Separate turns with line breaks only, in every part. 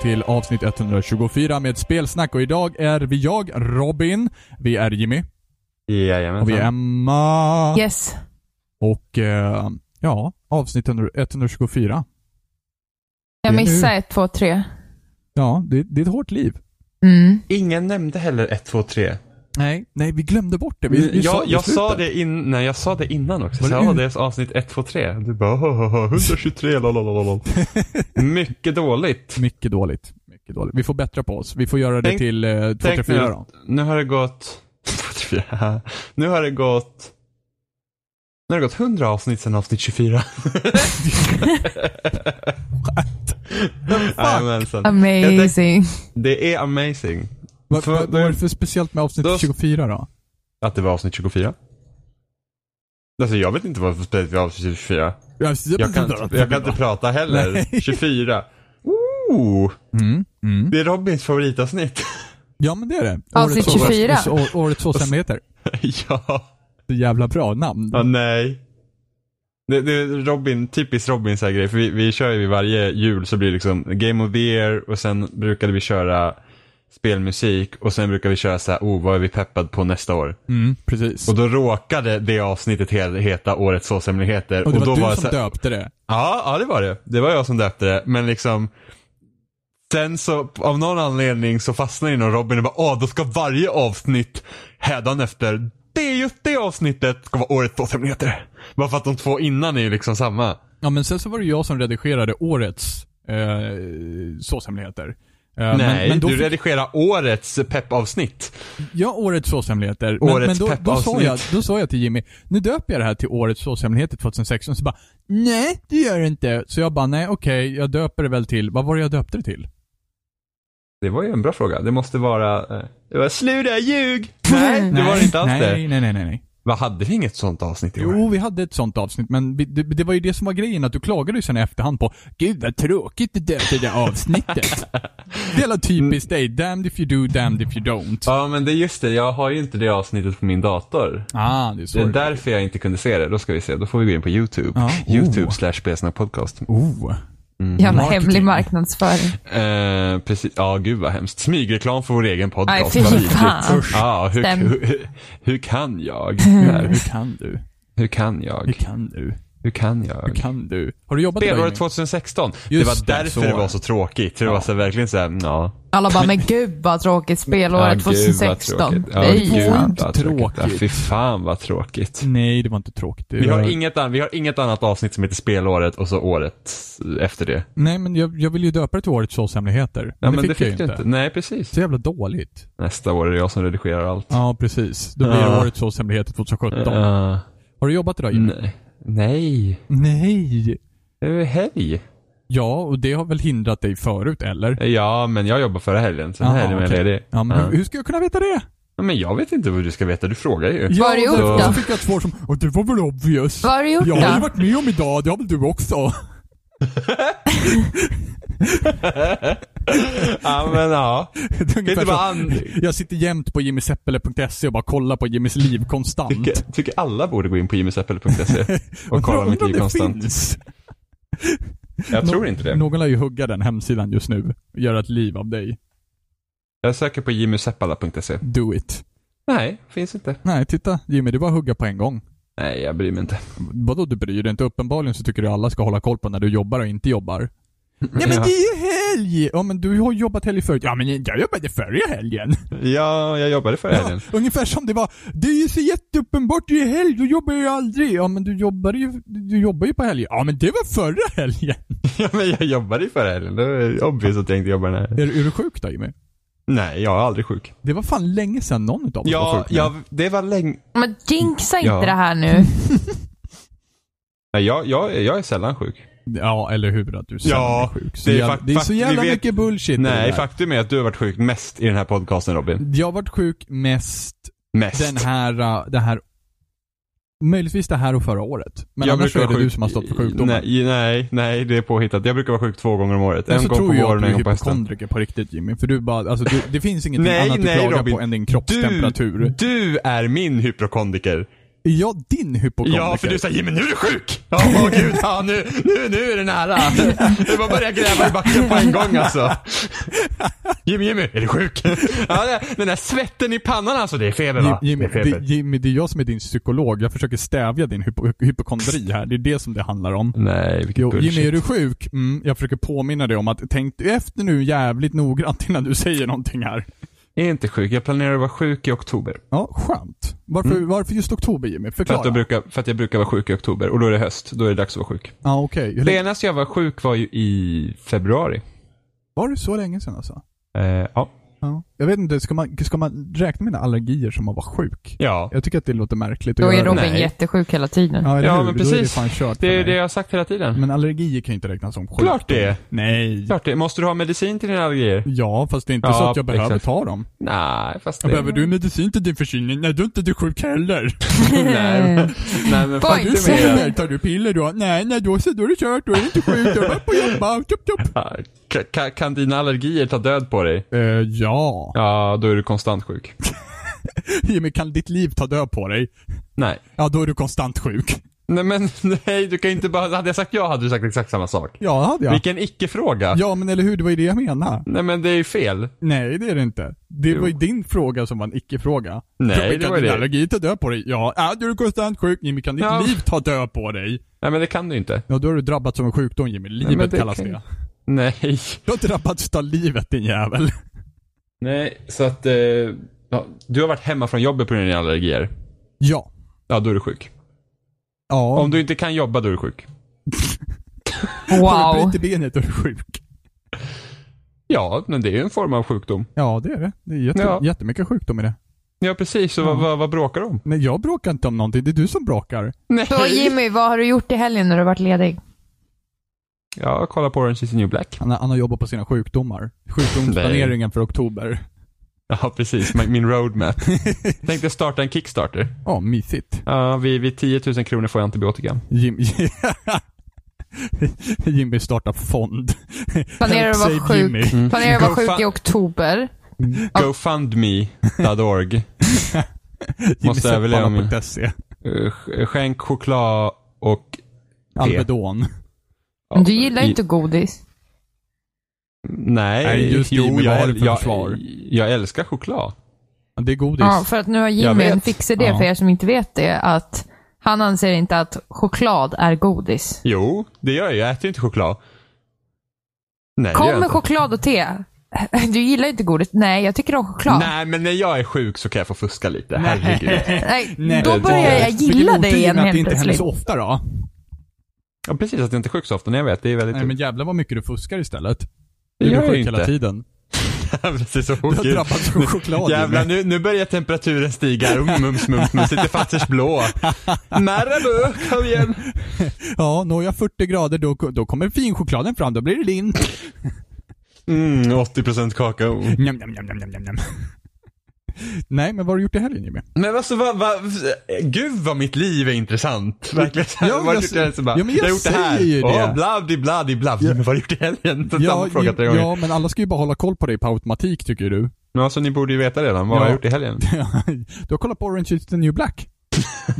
till avsnitt 124 med spelsnack och idag är vi jag, Robin, vi är Jimmy
Jajamensan.
och vi är Emma.
Yes.
Och eh, ja, avsnitt 124.
Jag
Det är
missade ett, två, tre.
Ja, det, det är ett hårt liv.
Mm.
Ingen nämnde heller 1, 2, 3.
Nej, nej vi glömde bort det. Vi, vi
jag,
i
jag, sa
slutet.
det in, nej, jag sa det innan också.
Var
Så
det
jag var
ut?
det är avsnitt 1, 2, 3. Du bara "Hahaha, 123 lalalala. Mycket dåligt.
Mycket dåligt. Mycket dåligt. Vi får bättra på oss. Vi får göra det
Tänk-
till eh, 234
nu,
då.
att- nu har det gått... 234. nu har det gått... Nu har det gått 100 avsnitt sedan avsnitt 24. Jajamensan.
Amazing.
Det är amazing.
Vad
För-
vad- vad är det för speciellt med avsnitt
Då-
24 då?
Att det var avsnitt 24. Alltså jag vet inte varför spelet var avsnitt 24. Jag kan, inte- jag kan inte prata heller. 24. Ooh,
Mm, mm.
det är Robins favoritavsnitt.
Ja men det är det.
Avsnitt
Årets-
24.
årets- Årets tvåsamheter.
ja.
Så jävla bra namn.
ja, nej. Det, det är Robin, typiskt Robin så här grej. För vi, vi kör ju varje jul så blir det liksom Game of the Year och sen brukade vi köra spelmusik och sen brukar vi köra så här, oh vad är vi peppad på nästa år?
Mm, precis.
Och
Och,
då råkade det avsnittet he- heta Årets såshemligheter.
det var
då
du
det
som
så här-
döpte det.
Ja, ja det var det. Det var jag som döpte det. Men liksom. Sen så av någon anledning så fastnade jag inom Robin och bara åh då ska varje avsnitt hädanefter. Det är just det avsnittet ska vara årets tvåsamheter. Bara för att de två innan är ju liksom samma.
Ja men sen så var det jag som redigerade årets eh, såshemligheter. Eh, men-
Nej,
men då
du
fick-
redigerar årets peppavsnitt.
Ja, årets såshemligheter. Men,
Årets
men då, då, sa
peppavsnitt.
jag, då sa jag till Jimmy, nu döper jag det här till årets såshemligheter 2016. Så bara, nej det gör det inte. Så jag bara, nej okej, jag döper det väl till, vad var det jag döpte det till?
Det var ju en bra fråga. Det måste vara... eh, Det var sluta ljug! Nej, det var det inte alls
nej,
det.
Nej, nej, nej, nej. nej.
Vad hade vi inget sånt avsnitt i år?
Jo, vi hade ett sånt avsnitt, men vi, det, det var ju det som var grejen, att du klagade ju sen i efterhand på Gud vad tråkigt det där, det där avsnittet. det är alla typiskt dig, damned if you do, damned if you don't.
Ja, men det är just det. Jag har ju inte det avsnittet på min dator.
Ah, det är så.
Det är därför jag inte kunde se det. Då ska vi se, då får vi gå in på YouTube.
Ja.
YouTube
Oh.
slash spelsnack podcast.
Oh.
Mm.
Jävla
Marketing.
hemlig marknadsföring.
Eh, precis, ja gud vad hemskt. Smygreklam för vår egen podcast.
Aj, fy
Vad vidrigt.
fan.
Usch.
Ja, hur,
Stäm. Mm.
hur, hur kan jag? Där.
Hur kan du?
Hur kan
Hur
jag?
kan du?
Hur kan
Hur
jag?
kan du? Har du jobbat
Spelåret
idag,
2016. det
Just
var
det,
därför
så
det
var
var
det.
så tråkigt. Det var så verkligen så här, ja.
Alla bara, men gud vad tråkigt
Ja,
spelåret
gud, vad
2016.
tråkigt. Ja,
Nej.
gud,
fan.
vad tråkigt. Ja,
Tråkigt.
Fy fan vad tråkigt.
Jimmy? Nej, det var inte tråkigt. Det
Vi har,
var-
inget an- vi har inget annat avsnitt som heter spelåret och så året efter det.
Nej, men jag, jag ville ju döpa det till årets såshemligheter. Men,
Ja,
det fick jag ju inte.
Nej, precis.
Så jävla dåligt.
Nästa år är det jag som redigerar allt.
Ja, precis. Då blir det
Ja.
årets såshemligheter 2017.
Eh,
Har du jobbat idag, Jimmy?
nej. Nej.
Nej.
Det är ju helg. Eh,
Ja, och det har väl hindrat dig förut, eller?
Ja, men jag jobbar förra helgen. Sen
Jaha,
helgen var jag
okej.
ledig.
Ja, men
Ja.
hur, hur ska jag kunna veta det?
Ja, men jag vet inte vad du ska veta. Du frågar ju.
Ja,
har du gjort
därför
då?
så fick jag ett svar som och det var väl obvious.
Vad har du gjort
Jag har ju
då?
varit med om idag, det har väl du också?
Ja, men ja.
Det är
Kan
ungefär
inte bara
så.
an...
Jag sitter jämt på jimmyseppele.se och bara kollar på Jimmys liv konstant.
tycker, tycker alla borde gå in på jimmyseppel.se och
Undrar-
kolla mitt
undrar om
liv
det
konstant.
finns.
Jag tror inte det.
Någon lär ju hugga den hemsidan just nu. och Göra ett liv av dig.
Jag söker på jimmyseppala.se.
Do it.
Nej, finns inte.
Nej, titta Jimmy, det är bara att hugga på en gång.
Nej, jag bryr mig inte.
Vadå du bryr dig inte? Uppenbarligen så tycker du alla ska hålla koll på när du jobbar och inte jobbar. Nej men
Ja.
det är ju helg! Ja men du har jobbat helg förut. Ja men jag jobbade förra helgen.
Ja, jag jobbade förra
Ja,
helgen.
ungefär som det var. Det är ju så jätteuppenbart, det är ju helg, då jobbar jag ju aldrig. Ja men du jobbar ju, du jobbar ju på helger. Ja men det var förra helgen.
Ja, men jag jobbade ju förra helgen. Det är obvious att jag inte jobbar den här
Är, du- är du sjuk då Jimmy?
Nej, jag är aldrig sjuk.
Det var fan länge sedan någon utav oss var
Ja,
sjuk. nu.
jag, det var länge...
Men jinxa inte
Ja.
det här nu.
Nej, jag, jag, jag är sällan sjuk.
ja, eller hur? Att du
Ja,
ja, är sjuk. Så
det
det,
är
är jävla,
fakt-
det är så
fakt- vi
jävla
vet-
mycket bullshit i det
Nej,
där.
faktum är att du har varit sjuk mest i den här podcasten Robin.
Jag har varit sjuk mest
Mest.
den här, äh, det här Möjligtvis det här och förra året. Men
Jag
annars
brukar
är det
vara
du
sjuk-
som har stått för sjukdomen.
Nej, nej, nej, det är påhittat. Jag brukar vara sjuk två gånger om året.
Men
En
så
gång på
tror jag att
våren
du är
och en gång på hösten.
hypokondriker på riktigt Jimmy. För du bara, alltså du, det finns ingenting
Nej,
annat du
nej,
klagar
Robin.
på än din kroppstemperatur.
du är min hypokondriker.
Är jag din hypokondriker?
Ja, för du säger Jimmy nu är du sjuk! Ja, åh gud, ja, nu, nu, nu är det nära. Det var börja gräva i backen på en gång alltså. Jimmy, Jimmy, är du sjuk? Ja, det, den där svetten i pannan alltså, det är feber va?
Jim- Jimmy,
det är feber.
det, Jimmy, det är jag som är din psykolog. Jag försöker stävja din hypo- hypokondri här. Det är det som det handlar om.
Nej, vilket
Jo,
bullshit.
Jimmy, är du sjuk? Mm, jag försöker påminna dig om att tänk efter nu jävligt noggrant innan du säger någonting här.
Jag är inte sjuk. Jag planerar att vara sjuk i oktober.
Ja, skönt. Varför,
Mm.
varför just oktober Jimmy?
För att,
Förklara.
jag brukar, för att jag brukar vara sjuk i oktober och då är det höst. Då är det dags att vara sjuk.
Ja, okej. Hur länge-
Senast jag var sjuk var ju i februari.
Var det så länge sedan alltså?
Eh, ja.
Ja. Jag vet inte, ska man, ska man räkna med allergier som att vara sjuk?
ja.
Jag tycker att det låter märkligt att
Då är
göra det.
Robin
Nej.
jättesjuk hela tiden.
Ja, eller
Ja,
hur?
men
Då är det
precis.
fan kört
Det
för
är ju det
mig.
jag har sagt hela tiden.
Men allergier kan ju inte räknas som sjukdom.
Klart det är.
Nej.
Klart det. Måste du ha medicin till dina allergier?
Ja, fast det är inte
Ja,
så att jag behöver
exakt.
ta dem.
Nej, fast det...
Jag behöver du medicin till din förkylning? Nej, då är inte du sjuk heller.
Nej, men- nej,
Du
men
Boing.
faktum är att...
säger, tar du piller då? Nej, nej då så, då är det kört. Då är du inte sjuk. Då är det på jobba. Tup, tup.
Ja, ka- ka- Kan dina allergier ta död på dig?
Eh, ja.
Ja, då är du konstant sjuk.
Jimmy, kan ditt liv ta död på dig?
Nej.
Ja, då är du konstant sjuk.
Nej men nej, du kan inte bara... Hade jag sagt ja hade du sagt exakt samma sak.
Ja, det hade jag.
Vilken icke-fråga.
Ja, men eller hur? Det var ju det jag menade.
Nej men det är ju fel.
Nej, det är det inte. Det var ju din fråga som var en icke-fråga.
Nej,
Jimmy,
det
kan
var ju
din
det.
allergi ta död på dig? Ja. ja, då är du konstant sjuk. Jimmy, kan ditt
Ja.
liv ta död på dig?
Nej men det kan du inte.
Ja, då har du drabbats av en sjukdom Jimmy.
men
Livet
det
kallas
kan-
det.
Nej.
Du har drabbats av livet din jävel.
Nej, så att... Eh, ja, du har varit hemma från jobbet på grund av dina allergier.
Ja.
Ja, då är du sjuk.
Ja.
Om du inte kan jobba, då är du sjuk.
Har du
Wow.
brutit benet och är du sjuk.
Ja, men det är ju en form av sjukdom.
Ja, det är det. Det är jätte,
Ja.
jättemycket sjukdom i det.
Ja, precis. Så vad, vad, vad bråkar du om?
Men jag bråkar inte om någonting. Det är du som bråkar.
Nej.
Så Jimmy, vad har du gjort i helgen när du har varit ledig?
Ja, kolla på Orange is the new black.
Han, har- han har jobbat på sina sjukdomar. Sjukdomsplaneringen för oktober.
Ja, precis. Min min roadmap. Tänkte starta en Kickstarter.
Ja, mysigt.
Ja, vid, vid 10 000 kronor får jag antibiotika.
Jim, Jimmy startar fond.
Planerar
Help
att vara
save
sjuk.
Jimmy.
Planerar att vara
Mm. Go
sjuk
fa-
i oktober.
GoFundMe.org.
Jimmy
överleva min-
Seppala.se.
Eh, sk- Skänk choklad och...
Alvedon.
Men du gillar inte godis.
Nej,
Nej, just det,
jo,
men vad har
jag,
du för
jag,
försvar?
jag älskar choklad.
Ja, Det är godis.
Ja, för att nu har
Jag
Jimmy
vet.
en fix idé
Ja.
för er som inte vet det. Att han anser inte att choklad är godis.
Jo, det gör jag. Jag äter ju inte choklad. Nej, det gör jag
Kom med
inte.
choklad och te. Du gillar inte godis. Nej, jag tycker om choklad.
Nej, men när jag är sjuk så kan jag få fuska lite. Herregud.
Nej,
Nej,
då
det-
börjar jag gilla
Vilken
dig
otur
igen
att det
helt
inte händer
plötsligt.
så ofta då.
Ja, precis. Att jag inte är sjuk så ofta. Nej, jag vet. Det är väldigt...
Nej men jävlar vad mycket du fuskar istället.
Det
Du
gör
är
jag
sjuk
inte.
hela tiden.
precis. så
Du har drabbats av choklad
Jävlar,
Jimmy.
nu, nu börjar temperaturen stiga. Um, mums, mums, mums. Sitter fatters blå. Marabou, kom igen.
Ja, når jag 40 grader då, då kommer finchokladen fram, då blir det lint.
Mm, 80% kakao.
Njam, njam, njam, njam, njam, njam, njam. Nej, men vad har du gjort i helgen Jimmy?
Men alltså, vad, vad, gud vad mitt liv är intressant. Verkligen.
Ja,
Vad har du
jag-
gjort i helgen? Så bara,
ja, men jag
har gjort det här.
säger ju det.
Åh, bla, di, bla, di, bla. Men vad har du gjort i helgen? Så Samma fråga tre
ju-
gånger.
ja, men alla ska ju bara hålla koll på dig på automatik tycker ju du.
Men alltså, ni borde ju veta redan. Vad
Ja.
har jag gjort i helgen?
du har kollat på Orange is the new black.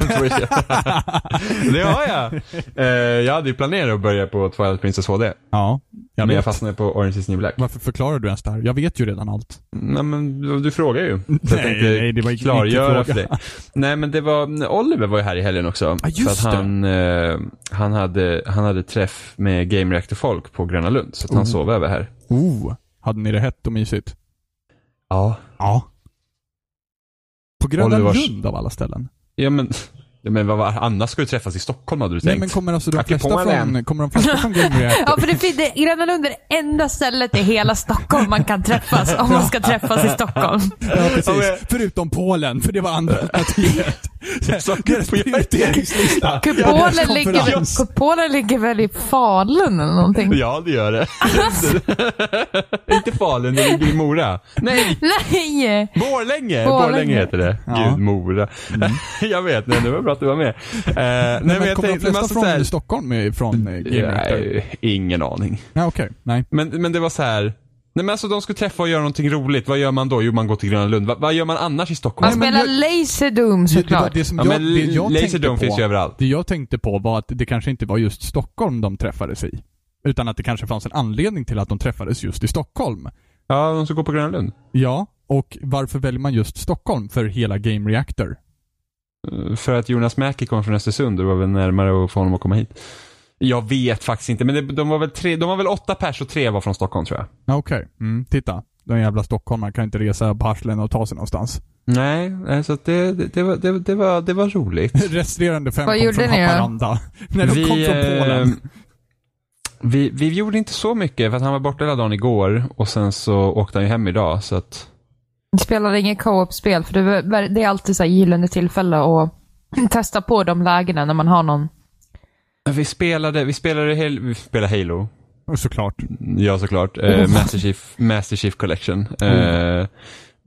det har jag. Eh, jag hade ju planerat att börja på Twilight Princess HD.
Ja, jag
men jag
vet.
fastnade på Orange is the New Black.
Varför förklarar du ens det här? Jag vet ju redan allt.
Nej men du, du frågar ju. Så jag
Nej,
tänkte
nej, det var inte-
klargöra
inte
för dig. Nej men det var, Oliver var ju här i helgen också.
Ja, just
för att han, eh, han, hade, han hade träff med Game Reactor-folk på Gröna Lund. Så att han sov över här.
Oh, hade ni det hett och mysigt?
Ja.
Ja. På Gröna
Olivers-
Lund av alla ställen?
Ja men, ja, men vad var, annars ska du träffas i Stockholm hade du
Nej
tänkt.
men kommer alltså de
Att det
flesta
kommer en.
från, kommer de flesta från Game
Ja,
Reactor?
för det fin- det, Gröna Lund är det enda stället i hela Stockholm man kan träffas om man ska träffas i Stockholm.
Ja,
Ja, men-
precis. Förutom Polen, för det var andra alternativet.
sa-
Deras prioriteringslista.
Kupolen ligger,
konferens.
kupolen ligger väl i Falun eller någonting?
Ja det gör det. Inte Falun, det ligger i Mora. Nej,
Nej!
Borlänge!
Borlänge.
Borlänge heter det.
Ja. Mm.
Gud, Mora. jag vet, nej, det var bra att du var med. Eh, nej,
Nej,
men
men
jag
kommer de
tänkte, men
flesta
alltså,
från
så här,
Stockholm eh, från eh, Game Reactor?
Nej, ingen aning.
Nej, okej. Nej.
Men, men det var så här. Nej men alltså de skulle träffa och göra någonting roligt. Vad gör man då? Jo man går till Gröna Lund. Va, vad gör man annars i Stockholm?
Man
Nej, men
spelar Laserdome
Det, det, var
såklart.
det som
Ja,
jag,
men
det jag
Laser
tänkte
Dome
på,
finns ju överallt.
Det jag tänkte på var att det kanske inte var just Stockholm de träffades i. Utan att det kanske fanns en anledning till att de träffades just i Stockholm.
Ja, de ska gå på Gröna Lund.
Ja, och varför väljer man just Stockholm för hela Game Reactor?
Eh, För att Jonas Mäki kom från Östersund. Det var väl närmare att få honom att komma hit. Jag vet faktiskt inte, men det, de, var väl tre, de var väl åtta pers och tre var från Stockholm tror jag.
Ja, Okej, mm, titta. Den jävla stockholmaren kan inte resa på arslen och ta sig någonstans.
Nej, nej, så att det, det, det, var, det, det, var, det var roligt.
Resterande fem
Vad
kom
gjorde
från
ni då?
Haparanda. När de kom från
eh,
Polen.
Vi, vi gjorde inte så mycket för att han var borta hela dagen igår och sen så åkte han ju hem idag så att
Det spelar inget co-op-spel, för det är- det är alltid så här gyllene tillfälle att testa på de lägena när man har någon.
Vi spelade, vi spelade, Hal- vi spelade Halo.
Såklart.
Ja, såklart.
Oh.
Eh, Master, Chief, Master Chief Collection. Eh,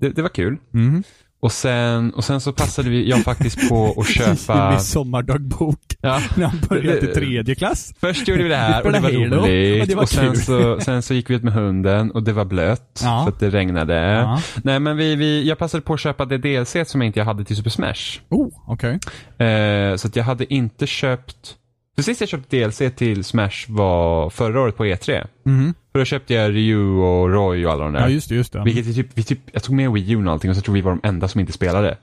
det, det var kul.
Mm.
Och sen, och sen så passade vi, jag faktiskt på att köpa...
Min sommardagbok.
Ja,
När han började i
Det-
tredje klass.
först gjorde vi det här och det var
Vi spelade Halo, och
roligt.
det var
och sen
kul.
så, sen så gick vi ut med hunden och det var blött.
Ja.
För att det regnade.
Ja.
Nej, men vi, vi, jag passade på att köpa det DLC som jag inte hade till Super Smash.
Oh, okej.
Eh, så att jag hade inte köpt... Precis jag köpte DLC till Smash var förra året på E E3.
Mhm.
För då köpte jag Ryu och Roy och alla de där.
Ja, just det, just det.
Vilket Mm. vi typ, vi typ, jag tog med Wii U och allting och så tror vi var de enda som inte spelade.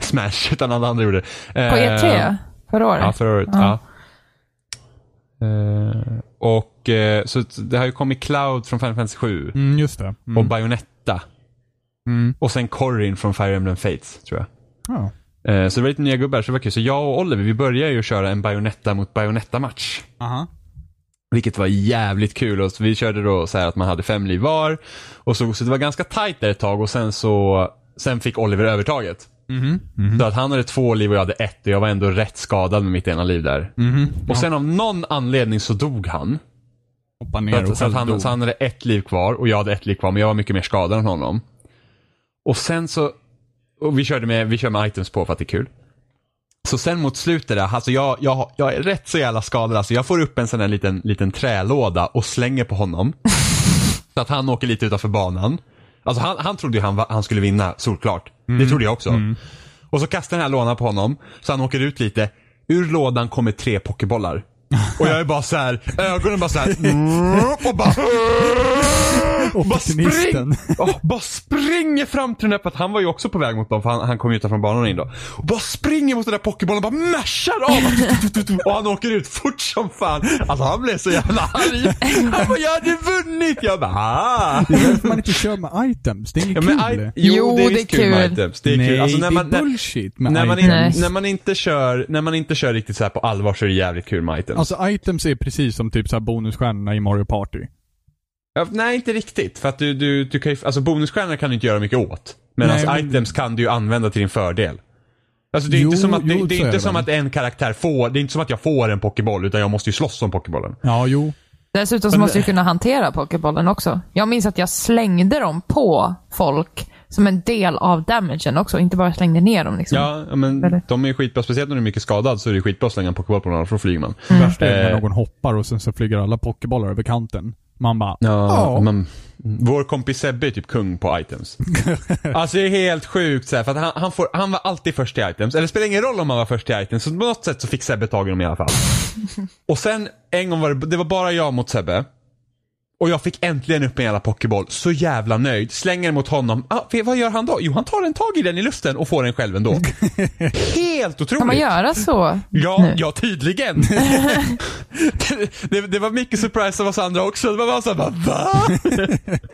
Smash, utan alla andra gjorde det.
På E
Eh,
E3 förra året.
Ja, förra året. Ja. Eh, och eh, så att det har ju kommit Cloud från Final Fantasy 7
Mm, just det. Mm.
och Bayonetta.
Mm.
Och sen Corrin från Fire Emblem Fates, tror jag.
Ja.
Eh, Så det var lite nya gubbar, så det var kul. Så jag och Oliver, vi började ju köra en Bayonetta mot Bayonetta-match.
Aha.
Vilket var jävligt kul. Och så vi körde då så här att man hade fem liv var. Och så, så det var ganska tajt där ett tag och sen så Sen fick Oliver övertaget. Så att han hade två liv och jag hade ett och jag var ändå rätt skadad med mitt ena liv där. Och sen av någon anledning så dog han.
Hoppa
Så
ner och
att, så, att han, så han hade ett liv kvar och jag hade ett liv kvar, men jag var mycket mer skadad än honom. Och sen så, och vi körde med, vi kör med items på för att det är kul. Så sen mot slutet där, alltså jag, jag, har- jag är rätt så jävla skadad. Alltså jag får upp en sån här liten, liten trälåda och slänger på honom. så att han åker lite utanför banan. Alltså han, han trodde ju han, va- han skulle vinna, solklart. Det trodde jag också. Och så kastar den här lådan på honom, så han åker ut lite. Ur lådan kommer tre pokébollar. Och jag är bara så här, ögonen bara så här. mm, Och bara,
Opportunisten.
Ja, bara springer fram till den där, för att han var ju också på väg mot dem, för han, han kom ju utanför banan in då. Och bara springer mot den där pokébollen och bara mashar av Och han åker ut fort som fan. Alltså han blev så jävla arg. Han bara, jag hade vunnit! Jag bara, ah.
Det är därför man inte kör med items. Det är
Ja,
inget
men,
kul.
i, jo,
Jo,
det är,
det
visst
är
kul med
kul.
items. Det är
Nej,
kul. Alltså, när man,
det är
när,
bullshit med
när, man
items.
inte,
Nej.
när man inte kör, när man inte kör riktigt så här på allvar så är det jävligt kul med items.
Alltså items är precis som typ så här bonusstjärnorna i Mario Party.
Ja, nej, inte riktigt. För att du, du, du kan ju, alltså bonusstjärnor kan du inte göra mycket åt. Medan
Nej, men-
items kan du ju använda till din fördel. Alltså det är
Jo,
inte som att, det,
jo,
det
så
är
är
inte
det
som
väl.
att en karaktär får, det är inte som att jag får en pokéboll utan jag måste ju slåss om pokébollen.
Ja, jo.
Dessutom så måste du kunna hantera pokébollen också. Jag minns att jag slängde dem på folk som en del av damagen också, inte bara slängde ner dem. Liksom.
Ja, men
Eller?
de är ju skitbra. Speciellt när du är mycket skadad så är det skitbra att slänga en pokéboll på någon annan för då flyger man.
Det värsta är när
Eh.
någon hoppar och sen så flyger alla pokébollar över kanten. Man bara,
Ja,
ja.
men vår kompis Sebbe är typ kung på items. alltså det är helt sjukt så här, för att han, han, får, han var alltid först till items. Eller det spelar ingen roll om han var först till items, så på något sätt så fick Sebbe tag i dem i alla fall. och sen en gång var det, det var bara jag mot Sebbe. Och jag fick äntligen upp en jävla pokéboll, så jävla nöjd. Slänger den mot honom. Ah, för vad gör han då? Jo, han tar en tag i den i luften och får den själv ändå. helt otroligt!
Kan man göra så?
Ja,
nu?
ja tydligen. det, det var mycket surprise av oss andra också. Det var bara såhär, bara, va?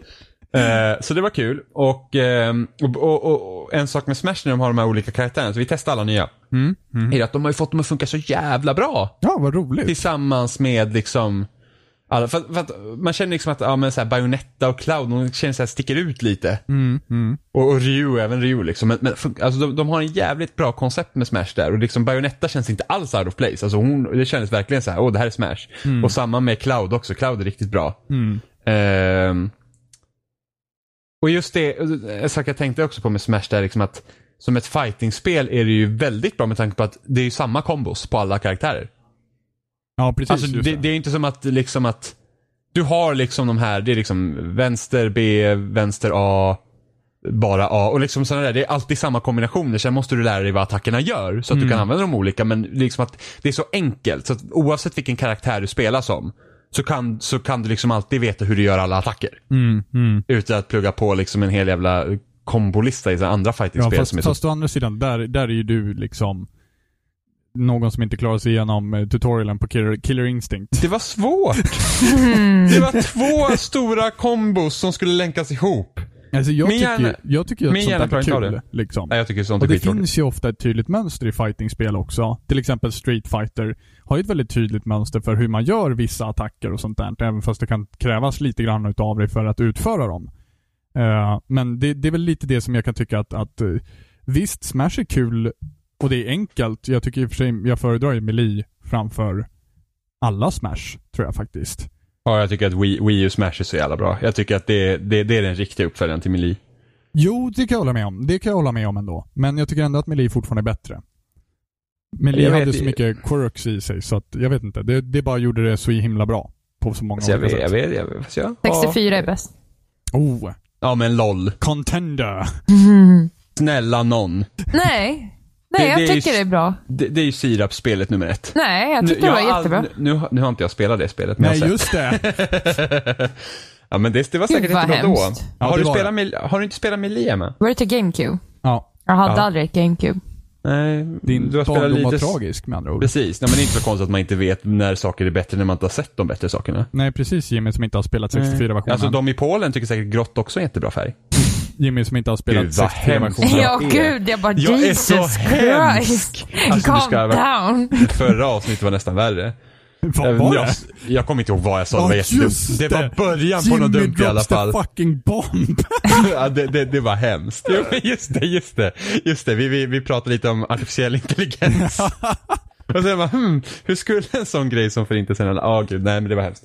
Eh, så det var kul. Och, ehm, och, och, och, och en sak med Smash när de har de här olika karaktärerna, så vi testar alla nya. Mm. Är att de har ju fått dem att funka så jävla bra.
ja, vad roligt.
Tillsammans med liksom alla, för, att- för att man känner liksom att ja, men så här, Bayonetta och Cloud, de känner så här, sticker ut lite. Och, och Ryu, även Ryu liksom. Men, men fun- alltså, de, de har en jävligt bra koncept med Smash där. Och liksom Bayonetta känns inte alls out of place. Alltså hon, det kändes verkligen så här, åh det här är Smash. Och samma med Cloud också, Cloud är riktigt bra. Ehm, och just det, en sak jag tänkte också på med Smash där liksom att som ett fightingspel är det ju väldigt bra med tanke på att det är ju samma kombos på alla karaktärer.
Ja, precis.
Alltså
just
det, det är ju inte som att liksom att Du har liksom de här, det är liksom vänster B, vänster A, bara A och liksom sådana där. Det är alltid samma kombinationer. Sen måste du lära dig vad attackerna gör så att
Mm.
du kan använda dem olika. Men liksom att det är så enkelt. Så att oavsett vilken karaktär du spelar som så kan, så kan du liksom alltid veta hur du gör alla attacker.
Mm,
Utan att plugga på liksom en hel jävla kombolista i så här andra
Ja,
fighting-spel
fast,
som är så
fast å andra sidan, där, där är ju du liksom någon som inte klarar sig igenom eh, tutorialen på Killer, Killer Instinct.
Det var svårt. Det var två stora kombos som skulle länkas ihop.
Alltså jag
Min
tycker, ju-
hjärna-
jag tycker ju att
min hjärna
sånt där
klarar inte av
är kul.
det.
Liksom.
Nej, jag tycker sånt är
Och det
skittråkigt.
finns ju ofta ett tydligt mönster i fightingspel också. Till exempel Street Fighter har ju ett väldigt tydligt mönster för hur man gör vissa attacker och sånt där. Även fast det kan krävas lite grann utav dig för att utföra dem. Eh, men det, det är väl lite det som jag kan tycka att, att eh, visst, Smash är kul och det är enkelt. Jag tycker i och för sig, jag föredrar ju Melee framför alla Smash, tror jag faktiskt.
Ja, jag tycker att Wii, Wii U Smash är så jävla bra. Jag tycker att det, det, det är den riktiga uppföljaren till Melee.
Jo, det kan jag hålla med om. Det kan jag hålla med om ändå. Men jag tycker ändå att Melee fortfarande är bättre. Melee
Jag
hade
vet
så
ju-
mycket quirks i sig, så att jag vet inte. Det, det bara gjorde det så himla bra. På så många
Så Alltså, jag
olika
vet,
sätt.
jag vet, jag vet. fast jag-
64 är bäst.
Oh!
Ja, men LOL.
Contender!
Snälla någon.
Nej. Nej,
Det-
jag
det är ju
tycker det är bra.
Det, det är ju sirapsspelet nummer ett.
Nej, jag tyckte
jag
det
har
var
all-
jättebra.
Nu, nu, har- nu har inte jag spelat det spelet, men jag
Nej,
har sett.
just det!
Ja, men det, det var säkert
Gud, vad
jättebra då.
hemskt.
Ja,
har,
det
du
var
spelat Melee, har du inte spelat Melee, Emma?
Var det till GameCube?
Ja.
Jag hade
Ja.
aldrig ett GameCube.
Nej,
Din
du har spelat
barndom var
lite...
tragisk med andra ord.
Precis, Nej, men det är inte så konstigt att man inte vet när saker är bättre när man inte har sett de bättre sakerna.
Nej, precis Jimmy som inte har spelat 64-versionen.
Alltså de i Polen tycker säkert grått också är jättebra färg.
Jimmy som inte har spelat
Gud, vad
64-versionen.
hemskt.
Ja,
är-
gud. Jag bara
Jag är
Jesus
så hemsk.
Christ.
Alltså, du
Calm
ska-
down.
Förra avsnittet var nästan värre.
Vad
Även
var
jag,
det?
jag kommer inte ihåg vad jag sa, det
Ja,
var jättedumt.
just
Det var
det.
början på
Jimmy
något dumt i alla
drops the
fall.
fucking bomb!
ja, det, det, det var hemskt. Jo, men Just det, just det. Just det, vi, vi, vi pratade lite om artificiell intelligens. Och sen bara, hmm, hur skulle en sån grej som förintelsen, ja gud, nej men det var hemskt.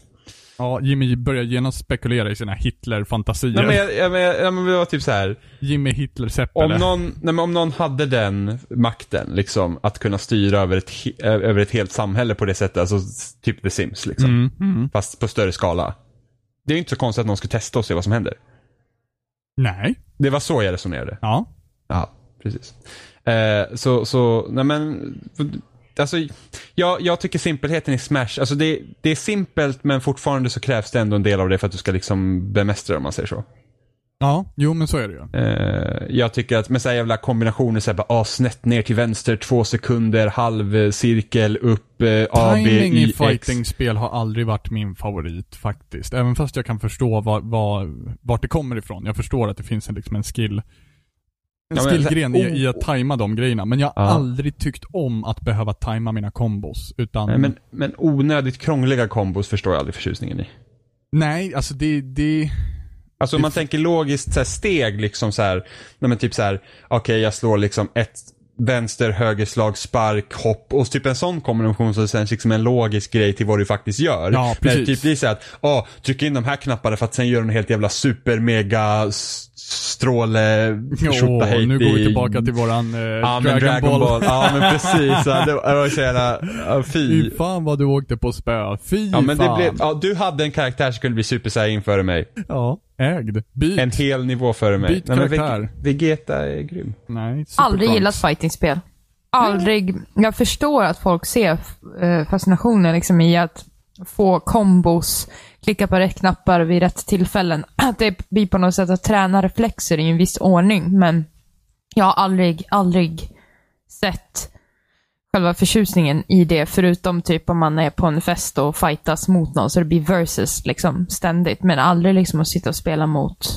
ja, Jimmy börjar genast spekulera i sina Hitler-fantasier.
Nej men jag, jag, jag, jag, men det var typ så här.
Jimmy Hitler-Seppele.
Om någon, nej, men om någon hade den makten, liksom, att kunna styra över ett, he- ö- över ett helt samhälle på det sättet, alltså s- typ The Sims, liksom. fast på större skala. Det är ju inte så konstigt att någon skulle testa och se vad som händer.
Nej.
Det var så jag resonerade.
Ja.
Ja, precis. Eh, så, så, nej men, alltså, jag, jag tycker simpelheten i Smash, alltså det, det är simpelt men fortfarande så krävs det ändå en del av det för att du ska liksom bemästra det om man säger så.
Ja, jo men så är det ju.
Eh, jag tycker att med så här jävla kombinationer så här bara, ah, snett ner till vänster, två sekunder, halv eh, cirkel, upp, eh, A, B,
Timing
I,
i
X.
fightingspel har aldrig varit min favorit faktiskt. Även fast jag kan förstå var, var, vart det kommer ifrån. Jag förstår att det finns en, liksom en skill en
Ja, men- Oh.
skillgren i, i att tajma de grejerna. Men jag har
Ja.
aldrig tyckt om att behöva tajma mina kombos. Utan,
Nej, Men, men onödigt krångliga kombos förstår jag aldrig förtjusningen i.
nej alltså det, det,
Alltså om man tänker logiskt så här, steg liksom så här, nej men typ så här, okej jag slår liksom ett vänster, höger slag, spark, hopp och typ en sån kombination som känns liksom en logisk grej till vad du faktiskt gör.
Ja, precis.
När det typ blir så här att, ja, tryck in de här knapparna för att sen gör du en helt jävla super mega s- stråle
åh,
hejt
nu går vi
i-
tillbaka till våran eh,
ja,
Dragon,
men Dragon Ball.
Ball.
Ja men precis, ja, det var det var så jävla, ja, fy.
Fy fan vad du åkte på spö. Fy
Ja men det
fan.
blev, ja, du hade en karaktär som skulle bli super saiyan före mig.
Ja, ägd. Byt.
En hel nivå före mig.
Byt
men
karaktär.
Veg- Vegeta är grym.
Nej, super
Aldrig
trunks.
gillat fightingspel. Aldrig. Jag förstår att folk ser eh, fascinationen liksom i att få kombos, klicka på rätt knappar vid rätt tillfällen. Att det blir på något sätt att träna reflexer i en viss ordning, men jag har aldrig, aldrig sett själva förtjusningen i det, förutom typ om man är på en fest och fightas mot någon, så det blir versus liksom ständigt, men aldrig liksom att sitta och spela mot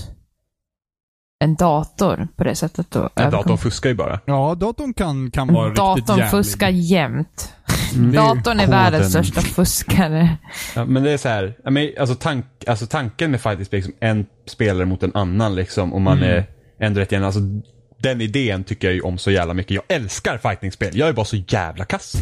en dator på det sättet. Och
Ja,
överkomma-
datorn fuskar ju bara.
Ja, datorn kan, kan vara riktigt
Mm. Datorn
jävlig. Mm.
fuskar jämt.
Det är ju
Datorn är världens största fuskare.
Ja, men det är så här, ja, men, alltså, tank, alltså tanken med fighting-spel, liksom, en spelare mot en annan liksom, och
Mm.
man är ändå rätt igen. Alltså, den idén tycker jag ju om så jävla mycket. Jag älskar fighting-spel. Jag är bara så jävla kass.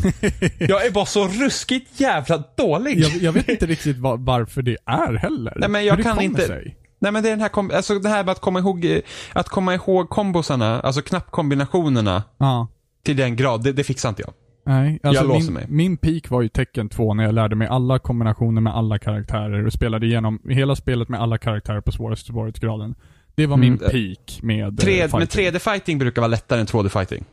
jag är bara så ruskigt jävla dålig.
Jag, jag vet inte riktigt var, varför det är heller.
Nej men
Hur
jag
det
kan
kommer
inte.
sig.
Nej men det är den här, kom, alltså det här med att komma ihåg, eh, att komma ihåg kombosarna, alltså knappkombinationerna
Ja.
till den grad, det, det fixar inte jag.
Nej, alltså
Jag låser
min,
mig.
min peak var ju tecken 2 när jag lärde mig alla kombinationer med alla karaktärer och spelade igenom hela spelet med alla karaktärer på svåraste svårighetsgraden. Det var min
Mm.
peak med... eh,
Tre, men
fighting.
3D-fighting brukar vara lättare än 2D-fighting.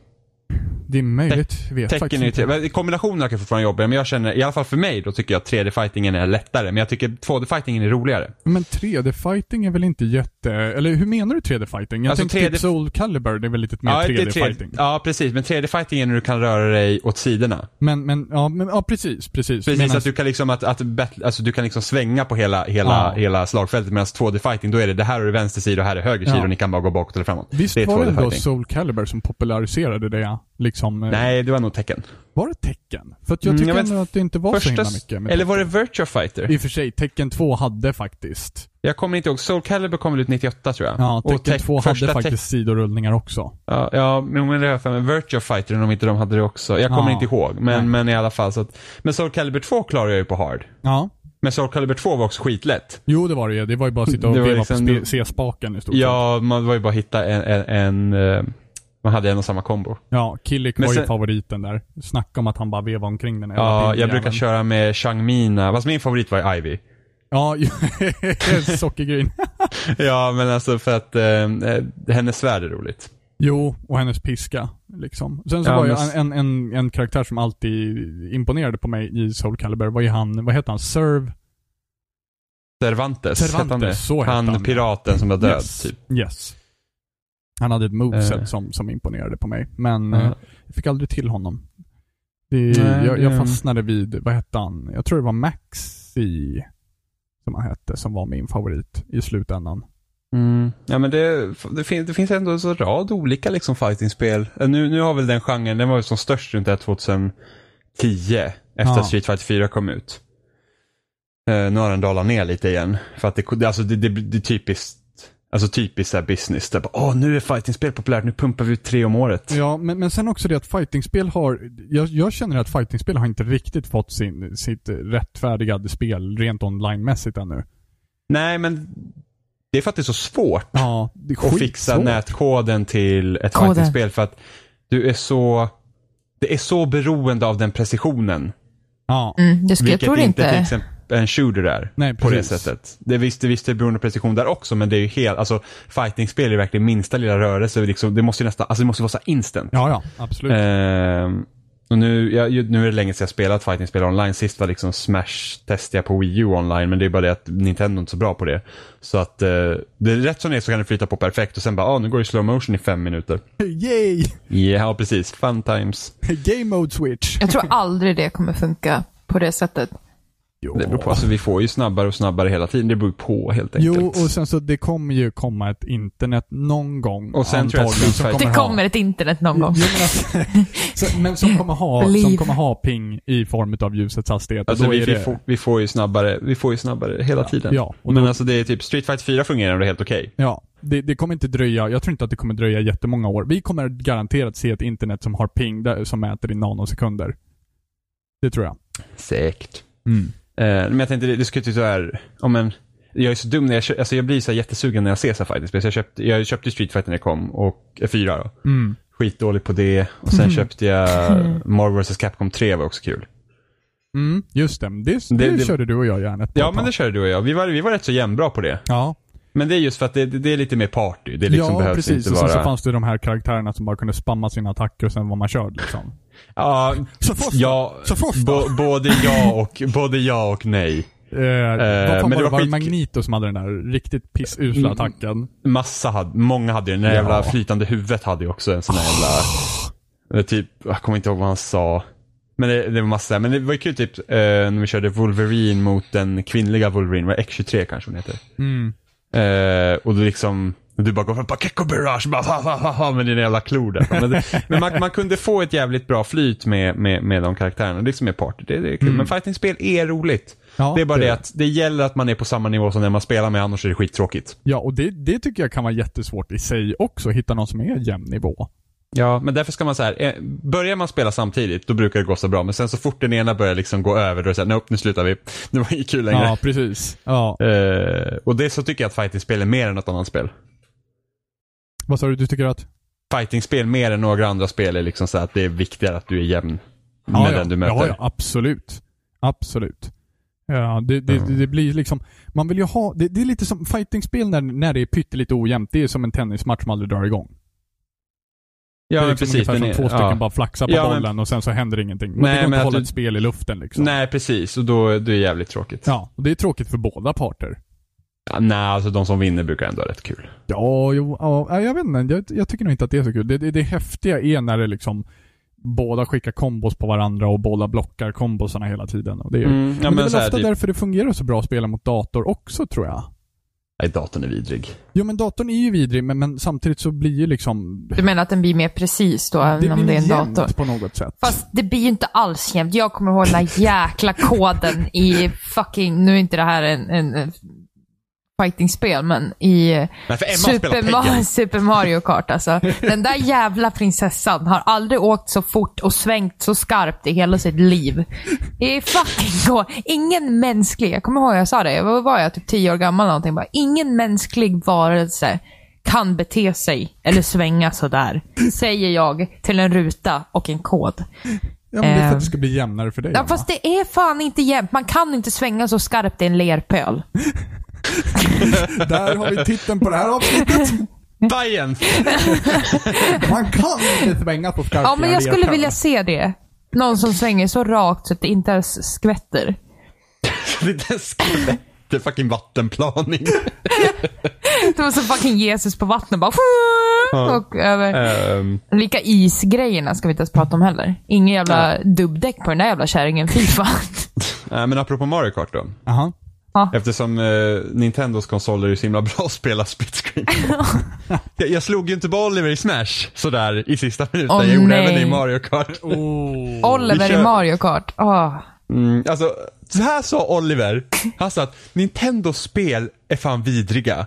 Det är möjligt, vet
Tecken
faktiskt
är ju
inte.
tre, men kombinationerna kan fortfarande jobba men jag känner, i alla fall för mig, då tycker jag att 3D-fightingen är lättare. Men jag tycker 2D-fightingen är roligare.
Men 3D-fighting är väl inte jätte... Eller hur menar du 3D-fighting? Jag
Alltså,
tänkte
3D
typ Soul Calibur, det är väl lite mer
ja, det är
3D-fighting?
ja, precis. Men 3D-fighting är när du kan röra dig åt sidorna.
Men, men, ja, men, ja precis, precis.
Precis,
Medan-
att du kan liksom, att, att battle, alltså du kan liksom svänga på hela, hela,
Ja.
hela slagfältet. Medan 2D-fighting, då är det, det här är vänster sida och här är höger sida
Ja.
och ni kan bara gå bakåt eller framåt.
Visst
det är
var det ändå
2D-fighting.
Soul Calibur som populariserade det? Liksom, eh,
Nej, det var nog tecken.
Var det tecken? För att jag
Mm,
tycker
jag vet-
ändå att det inte var så
Första,
himla mycket. med
eller var det Virtua Fighter?
I och för sig, tecken 2 hade faktiskt.
Jag kommer inte ihåg. Soul Calibur kom väl ut 98 tror jag.
Ja,
Och
tecken
Tek-
2
första
hade
Tek-
faktiskt sidorullningar också.
Ja, ja men men det har jag för mig. Virtua Fighter, om inte de hade det också. Jag kommer
Ja.
inte ihåg,
Nej.
men, men i alla fall. Så att, men Soul Calibur 2 klarade jag ju på hard.
Ja.
Men Soul Calibur 2 var också skitlätt.
Jo, det var det ju. Det var ju bara att sitta och
Det var
veva
liksom-
på spe- C-spaken i stort sett.
Ja, man var ju bara att hitta en, en, en eh, man hade en och samma kombo.
Ja, Killik
Men
var ju
sen-
favoriten där. Snacka om att han bara vevade omkring den hela
Ja,
tiden,
jag brukar
jäveln.
köra med Chang Mina, fast min favorit var ju Ivy.
Ja, sockergryn.
Ja, men alltså för att eh, eh, hennes svärd är roligt.
Jo, och hennes piska. Liksom. Sen så
Ja,
var ju
men-
en, en, en karaktär som alltid imponerade på mig i Soul Calibur var ju han, vad hette han? Serv?
Cervantes,
Cervantes,
hette
så hette
han, det?
han.
han piraten som var död,
yes.
typ.
Yes. Han hade ett moveset
Eh.
som, som imponerade på mig, men
Ja.
eh, jag fick aldrig till honom. Det,
Nej, eh.
jag, jag
det-
fastnade vid, vad hette han? Jag tror det var Maxi som han hette, som var min favorit i slutändan.
Mm. Ja, men det, det, fin, det finns ändå en rad olika liksom fightingspel. Eh, Nu, nu har väl den genren, den var ju som störst runt det här 2010. Efter
Ja.
att Street Fighter 4 kom ut. Eh, nu har den dalat ner lite igen. För att det, alltså det, det, det är typiskt, alltså typiskt så här business. Där bara, Åh, nu är fightingspel populärt, nu pumpar vi ut tre om året.
Ja, men, men sen också det att fightingspel har, jag, jag känner att fightingspel har inte riktigt fått sin, sitt rättfärdigade spel rent onlinemässigt ännu.
Nej, men det är för att det är så svårt.
Ja, det är
och fixa
skitsvårt.
nätkoden till ett
Koden.
fightingspel för att du är så, det är så beroende av den precisionen.
Ja,
Mm, det skulle, jag
vilket
tror
inte
inte...
till exempel en shooter är.
Nej,
på det
precis.
sättet. Det är visst, det är visst det är beroende av precision där också, men det är ju helt, alltså fightingspel är verkligen minsta lilla rörelse. Liksom, det måste ju nästan, alltså det måste vara så här instant.
ja, ja, absolut.
Ehm, och nu, jag, ju- nu är det länge sedan jag spelat fightingspel online. Sist var liksom Smash testade jag på Wii U online, men det är bara det att Nintendo är inte så bra på det. Så att eh, det är rätt som det är så kan det flyta på perfekt och sen bara, ah, nu går det i slow motion i fem minuter.
Yay!
Ja, precis. Fun times.
Game mode switch.
Jag tror aldrig det kommer funka på det sättet.
Jo.
Det beror på, alltså, vi får ju snabbare och snabbare hela tiden. Det beror på helt enkelt.
Jo, och sen så det kommer ju komma ett internet någon gång.
Och sen tror jag att
antagligen,
Street
som
Det
ha-
kommer ett internet någon gång.
Jo, men, alltså, så, men som kommer, ha, som
Believe.
kommer ha ping i form av ljusets hastighet. och
Alltså
då
vi,
är
vi,
det,
får, vi får ju snabbare, vi får ju snabbare hela tiden.
ja, och
men
då-
alltså det är typ, Street Fighter 4 fungerar ändå helt okej.
ja, det, det kommer inte dröja, jag tror inte att det kommer dröja jättemånga år. Vi kommer garanterat se ett internet som har ping, där, som mäter i nanosekunder. Det tror jag.
Säkert. Eh, men jag tänkte, det, det skulle typ ju tyvärr, om en, jag är så dum när jag kö- alltså jag blir så här jättesugen när jag ser så här fightingspel. Så jag köpte, jag köpte Street Fighter när det kom, och eh, 4 då.
Mm.
Skitdålig på det. Och sen köpte jag Marvel vs Capcom 3, var också kul.
Mm, just det. Det, det,
Det- det-
körde du och jag gärna ett par
Ja, men
tag.
det körde du och jag. Vi var, vi var rätt så jämnbra på det.
Ja,
Men det är just för att det, det, det är lite mer party. Det liksom
ja
behövs
precis.
inte
Och
vara...
sen så fanns det de här karaktärerna som bara kunde spamma sina attacker och sen var man körd liksom.
Ja,
Så först då?
ja
Så först då?
bo, både, ja och, både ja och nej.
Eh, vad fan
men
var
det
det? Var
var
det
skit- Mm.
Magneto som hade den där riktigt pissusla attacken?
Massa hade, många hade ju, den där
Ja. Ah.
jävla flytande huvudet hade ju också en sån här jävla, eh, typ, jag kommer inte ihåg vad han sa. Men det, det var massa, men det var ju kul typ eh, när vi körde Wolverine mot den kvinnliga Wolverine, var det X23 kanske hon heter.
Mm.
Eh, och du liksom, du bara går fram, bara Kekko Barrage, bara ha, ha, ha, ha, med dina jävla klor där. Men, det, men man, man kunde få ett jävligt bra flyt med, med, med de karaktärerna, det är liksom mer party, det, det är kul. Men fightingspel är roligt.
Mm. Ja,
det är bara
det
det,
är
att det gäller att man är på samma nivå som den man spelar med, annars är det skittråkigt.
Ja, och det, det tycker jag kan vara jättesvårt i sig också, hitta någon som är jämn nivå.
Ja, men därför ska man så här, eh, börjar man spela samtidigt, då brukar det gå så bra. Men sen så fort den ena börjar liksom gå över, då är det såhär, nope, nu slutar vi. Det var inget kul längre.
Ja, precis. Ja.
Eh, och det så tycker jag att fightingspel är mer än något annat spel.
Vad sa du? Du tycker att?
Fightingspel mer än några andra spel är liksom så här att det är viktigare att du är jämn.
Ja,
med
ja.
den du möter.
Ja, ja absolut. Absolut. Ja, det, det,
Mm.
det blir liksom, man vill ju ha, det, det är lite som fightingspel när, när det är pyttelite ojämnt. Det är som en tennismatch som aldrig drar igång. det
Ja,
är
men
liksom
precis.
ungefär
den
som två
är-
stycken
ja.
bara flaxar på
Ja, men-
bollen och sen så händer ingenting. Man
Nej,
vill inte
men att
hålla
du-
ett spel i luften liksom.
Nej, precis. Och då, då är det jävligt tråkigt. Ja.
Ja, och det är tråkigt för båda parter.
nej, alltså de som vinner brukar ändå ha rätt kul.
Ja, jo, ja, nej, jag vet inte. Jag, jag tycker nog inte att det är så kul. Det, det, det häftiga är när det liksom båda skickar kombos på varandra och båda blockar kombosarna hela tiden. Och det är,
Mm, ja, men
men det är
så här
väl ofta
typ-
därför det fungerar så bra att spela mot dator också tror jag.
Nej, datorn är vidrig.
Jo men datorn är ju vidrig men, men samtidigt så blir ju liksom...
Du menar att den blir mer precis då, även om
blir
det är en
jämnt
dator?
på något sätt.
Fast det blir ju inte alls jämnt. Jag kommer ihåg den här jäkla koden i fucking, nu är inte det här en, en eh, fightingspel, men i eh,
Nej, för Emma spelar
Super, Ma-
Peggy.
Super Mario Kart alltså. Den där jävla prinsessan har aldrig åkt så fort och svängt så skarpt i hela sitt liv. Det är fucking gå. Ingen mänsklig, jag kommer ihåg jag sa det, jag var, var jag typ 10 år gammal eller någonting, bara, ingen mänsklig varelse kan bete sig eller svänga sådär. Säger jag till en ruta och en kod.
Ja, men det är för
Ehm.
att det ska bli jämnare för dig.
Ja,
Anna.
fast det är fan inte jämnt. Man kan inte svänga så skarpt i en lerpöl.
Där har vi titeln på det här avsnittet.
Science!
Man kan inte svänga på E skarpa
Ja, men jag skulle vilja se det. Någon som svänger så rakt så att det inte ens skvätter.
Liten skvätt. Det är fucking vattenplaning.
Det var som fucking Jesus på vattnet bara... Och över.
Ehm,
Lika isgrejerna ska vi inte ens prata om heller. Ingen jävla dubbdäck på den där jävla kärringen. Fy fan.
nej, Eh, men apropå Mario Kart då.
Aha.
Eftersom eh, Nintendos konsoler är så himla bra att spela split screen på. jag, jag slog ju inte på Oliver i Smash sådär i sista minuten.
Åh,
jag gjorde
nej.
även i Mario Kart.
Oh.
Oliver
kör.
i Mario Kart. Åh.
Mm, alltså, så här sa Oliver. Han sa att Nintendos spel är fan vidriga.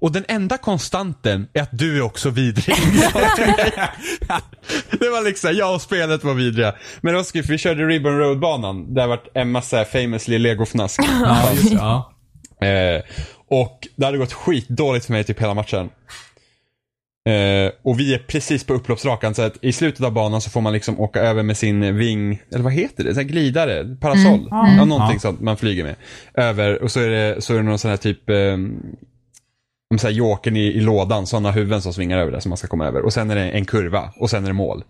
Och den enda konstanten är att du är också vidrig. det var liksom, jag och spelet var vidriga. Men det var skrivet, vi körde Ribbon Road-banan. Där vart Emma så här famously legofnask.
Ja, just det. Ja.
Eh, och det hade gått skitdåligt för mig typ hela matchen. Eh, och vi är precis på upploppsrakan så att i slutet av banan så får man liksom åka över med sin ving, eller vad heter det? Så här glidare? Parasoll?
Mm.
Ja, någonting sånt man flyger med. Över och så är det, så är det någon sån här typ ehm, om så här jokern i, i lådan, sådana huvuden som svingar över det som man ska komma över. Och sen är det en kurva och sen är det mål.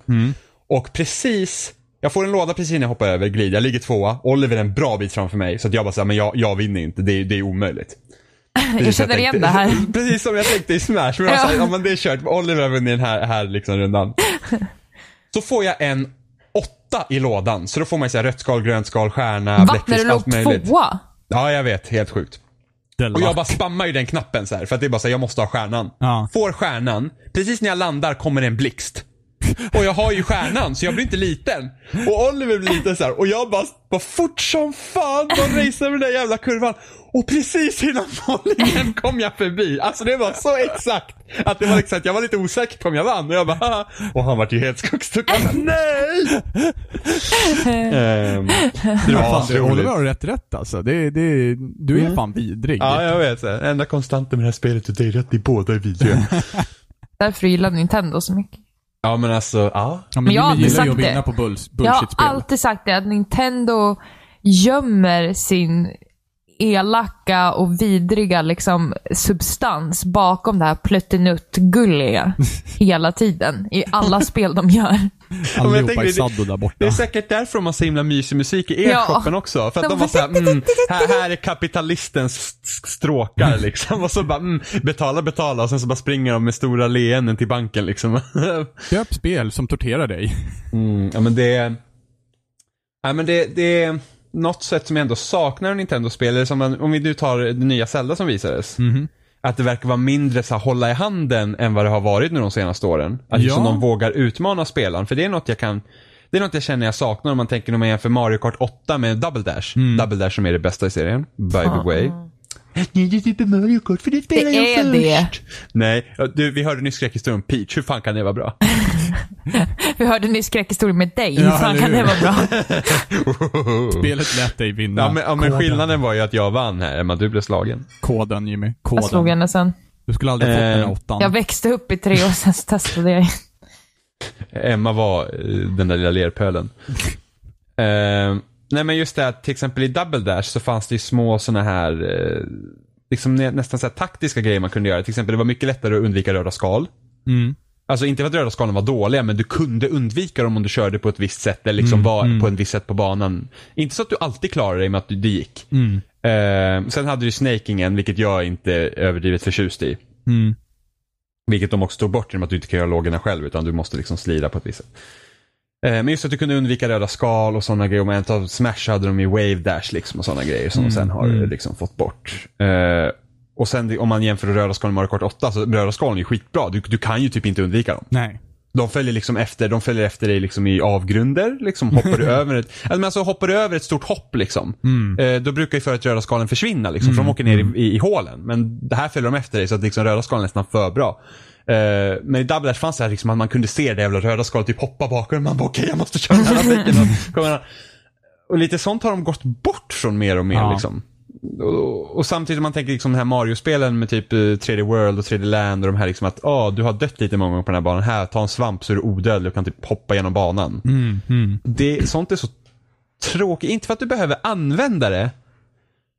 Och precis, jag får en låda precis när jag hoppar över, glider, jag ligger tvåa. Oliver är en bra bit framför mig så att jag bara säger men jag, jag vinner inte, det, är- det är omöjligt.
Jag
Precis som
känner igen det
tänkte-
här.
Precis som jag tänkte i Smash, men jag
Ja.
sa ja men det är kört, Oliver har vunnit den här, här liksom rundan. Så får jag en åtta i lådan, så då får man ju så här rött skal, grönt skal, stjärna,
Va? När du
bläckfisk, allt
låg
möjligt.
tvåa?
Ja, jag vet, helt sjukt.
Del-
Och jag bara spammar ju den knappen så här för att det är bara så här, jag måste ha stjärnan.
Ja.
Får stjärnan, precis när jag landar kommer en blixt. Och jag har ju stjärnan så jag blir inte liten. Och Oliver blir liten så här och jag bara, bara fort som fan, bara racear med den där jävla kurvan. Och precis innan mållinjen kom jag förbi. Alltså det var så exakt. Att det var liksom att jag var lite osäker på om jag vann. Och jag bara, Haha. Och han vart ju helt skogstuckad. Nej! Ehm, det var
Fan, du,
asroligt.
Oliver har rätt rätt alltså. Det, det, du
Mm.
är fan vidrig.
Ja, jag vet. så här. Enda konstanten med det här spelet och det är att ni båda är vidriga.
Därför gillar Nintendo så mycket.
ja, men alltså, ja.
Ja,
Men jag har
Jimmy
alltid
gillar ju
sagt
att vinna
det.
på bulls,
Jag har
bullshit-spel.
alltid sagt det, att Nintendo gömmer sin elaka och vidriga liksom, substans bakom det här plöttenutt-gulliga hela tiden. I alla spel de gör.
men jag
Allihopa
tänker
i
det-
saddo där borta.
Det är säkert därför de har så himla mysig musik i
Ja.
e-shoppen också. För att de var såhär, mm, här, här är kapitalistens st- stråkar liksom. Och så bara, mm, betala, betala. Och sen så bara springer de med stora leenden till banken liksom.
Köp spel som torterar dig.
Mm, ja men det är... Ja, men det, det är något sätt som jag ändå saknar i Nintendo-spel. eller som man- Om vi nu tar det nya Zelda som visades. Att det verkar vara mindre så här, hålla i handen än vad det har varit nu de senaste åren. Att liksom
Ja.
de vågar utmana spelaren. För det är något jag kan... Det är något jag känner jag saknar om man tänker när man jämför Mario Kart 8 med Double Dash. Double Dash som är det bästa i serien, by the way. Nej, det är inte Mario Kart för det spelar
Det
jag
är det.
först. Nej, ja, du, vi hörde nyss skräckhistorien om Peach. Hur fan kan det vara bra?
Vi hörde nyss skräckhistorien med dig. Hur
Ja,
fan
eller
kan det
hur?
vara bra?
Spelet lät dig vinna.
Ja men, ja, men
koden,
skillnaden var ju att jag vann här, Emma. Du blev slagen.
koden Jimmy. Koden.
Jag slog henne sen.
Du skulle aldrig fått
Eh,
den här åttan.
Jag växte upp i tre år, sen så testade jag.
Emma var eh, den där lilla lerpölen. Eh, nej men just det att till exempel i Double Dash så fanns det ju små såna här, eh, liksom nä- nästan så här taktiska grejer man kunde göra. Till exempel det var mycket lättare att undvika röda skal.
Mm.
Alltså inte för att röda skalen var dåliga, men du kunde undvika dem om du körde på ett visst sätt eller liksom
Mm,
var på ett visst sätt på banan. Inte så att du alltid klarade dig med att du, det gick.
Mm.
Eh, sen hade du snakingen, vilket jag inte är överdrivet förtjust i.
Mm.
Vilket de också tog bort genom att du inte kan göra lågorna själv utan du måste liksom slida på ett visst sätt. Eh, Men just att du kunde undvika röda skal och sådana grejer. Och med ett av Smash hade de ju Wave Dash liksom och sådana grejer som de sen har eh, liksom fått bort. Eh, Och sen om man jämför röda skalen med Mario Kart 8 så röda skalen är ju skitbra. Du, du kan ju typ inte undvika dem.
Nej.
De följer liksom efter, de följer efter dig liksom i avgrunder. Liksom hoppar du över ett, alltså, men alltså hoppar du över ett stort hopp liksom. Eh, då brukar ju för att röda skalen försvinna liksom, för de åker ner i, i, i hålen. Men det här följer de efter dig så att liksom röda skalen är nästan för bra. Eh, men i Double Dash fanns det här liksom att man kunde se det jävla röda skalet typ hoppa bakom Man bara okej jag måste köra den här trafiken. Och, kommer han- och lite sånt har de gått bort från mer och mer
Ja.
liksom. Och, och samtidigt om man tänker liksom de här Mario-spelen med typ eh, 3D World och 3D Land och de här liksom att ah du har dött lite många gånger på den här banan. Här, ta en svamp så är du odödlig och kan typ hoppa genom banan.
Mm. Mm.
Det, sånt är så tråkigt. Inte för att du behöver använda det.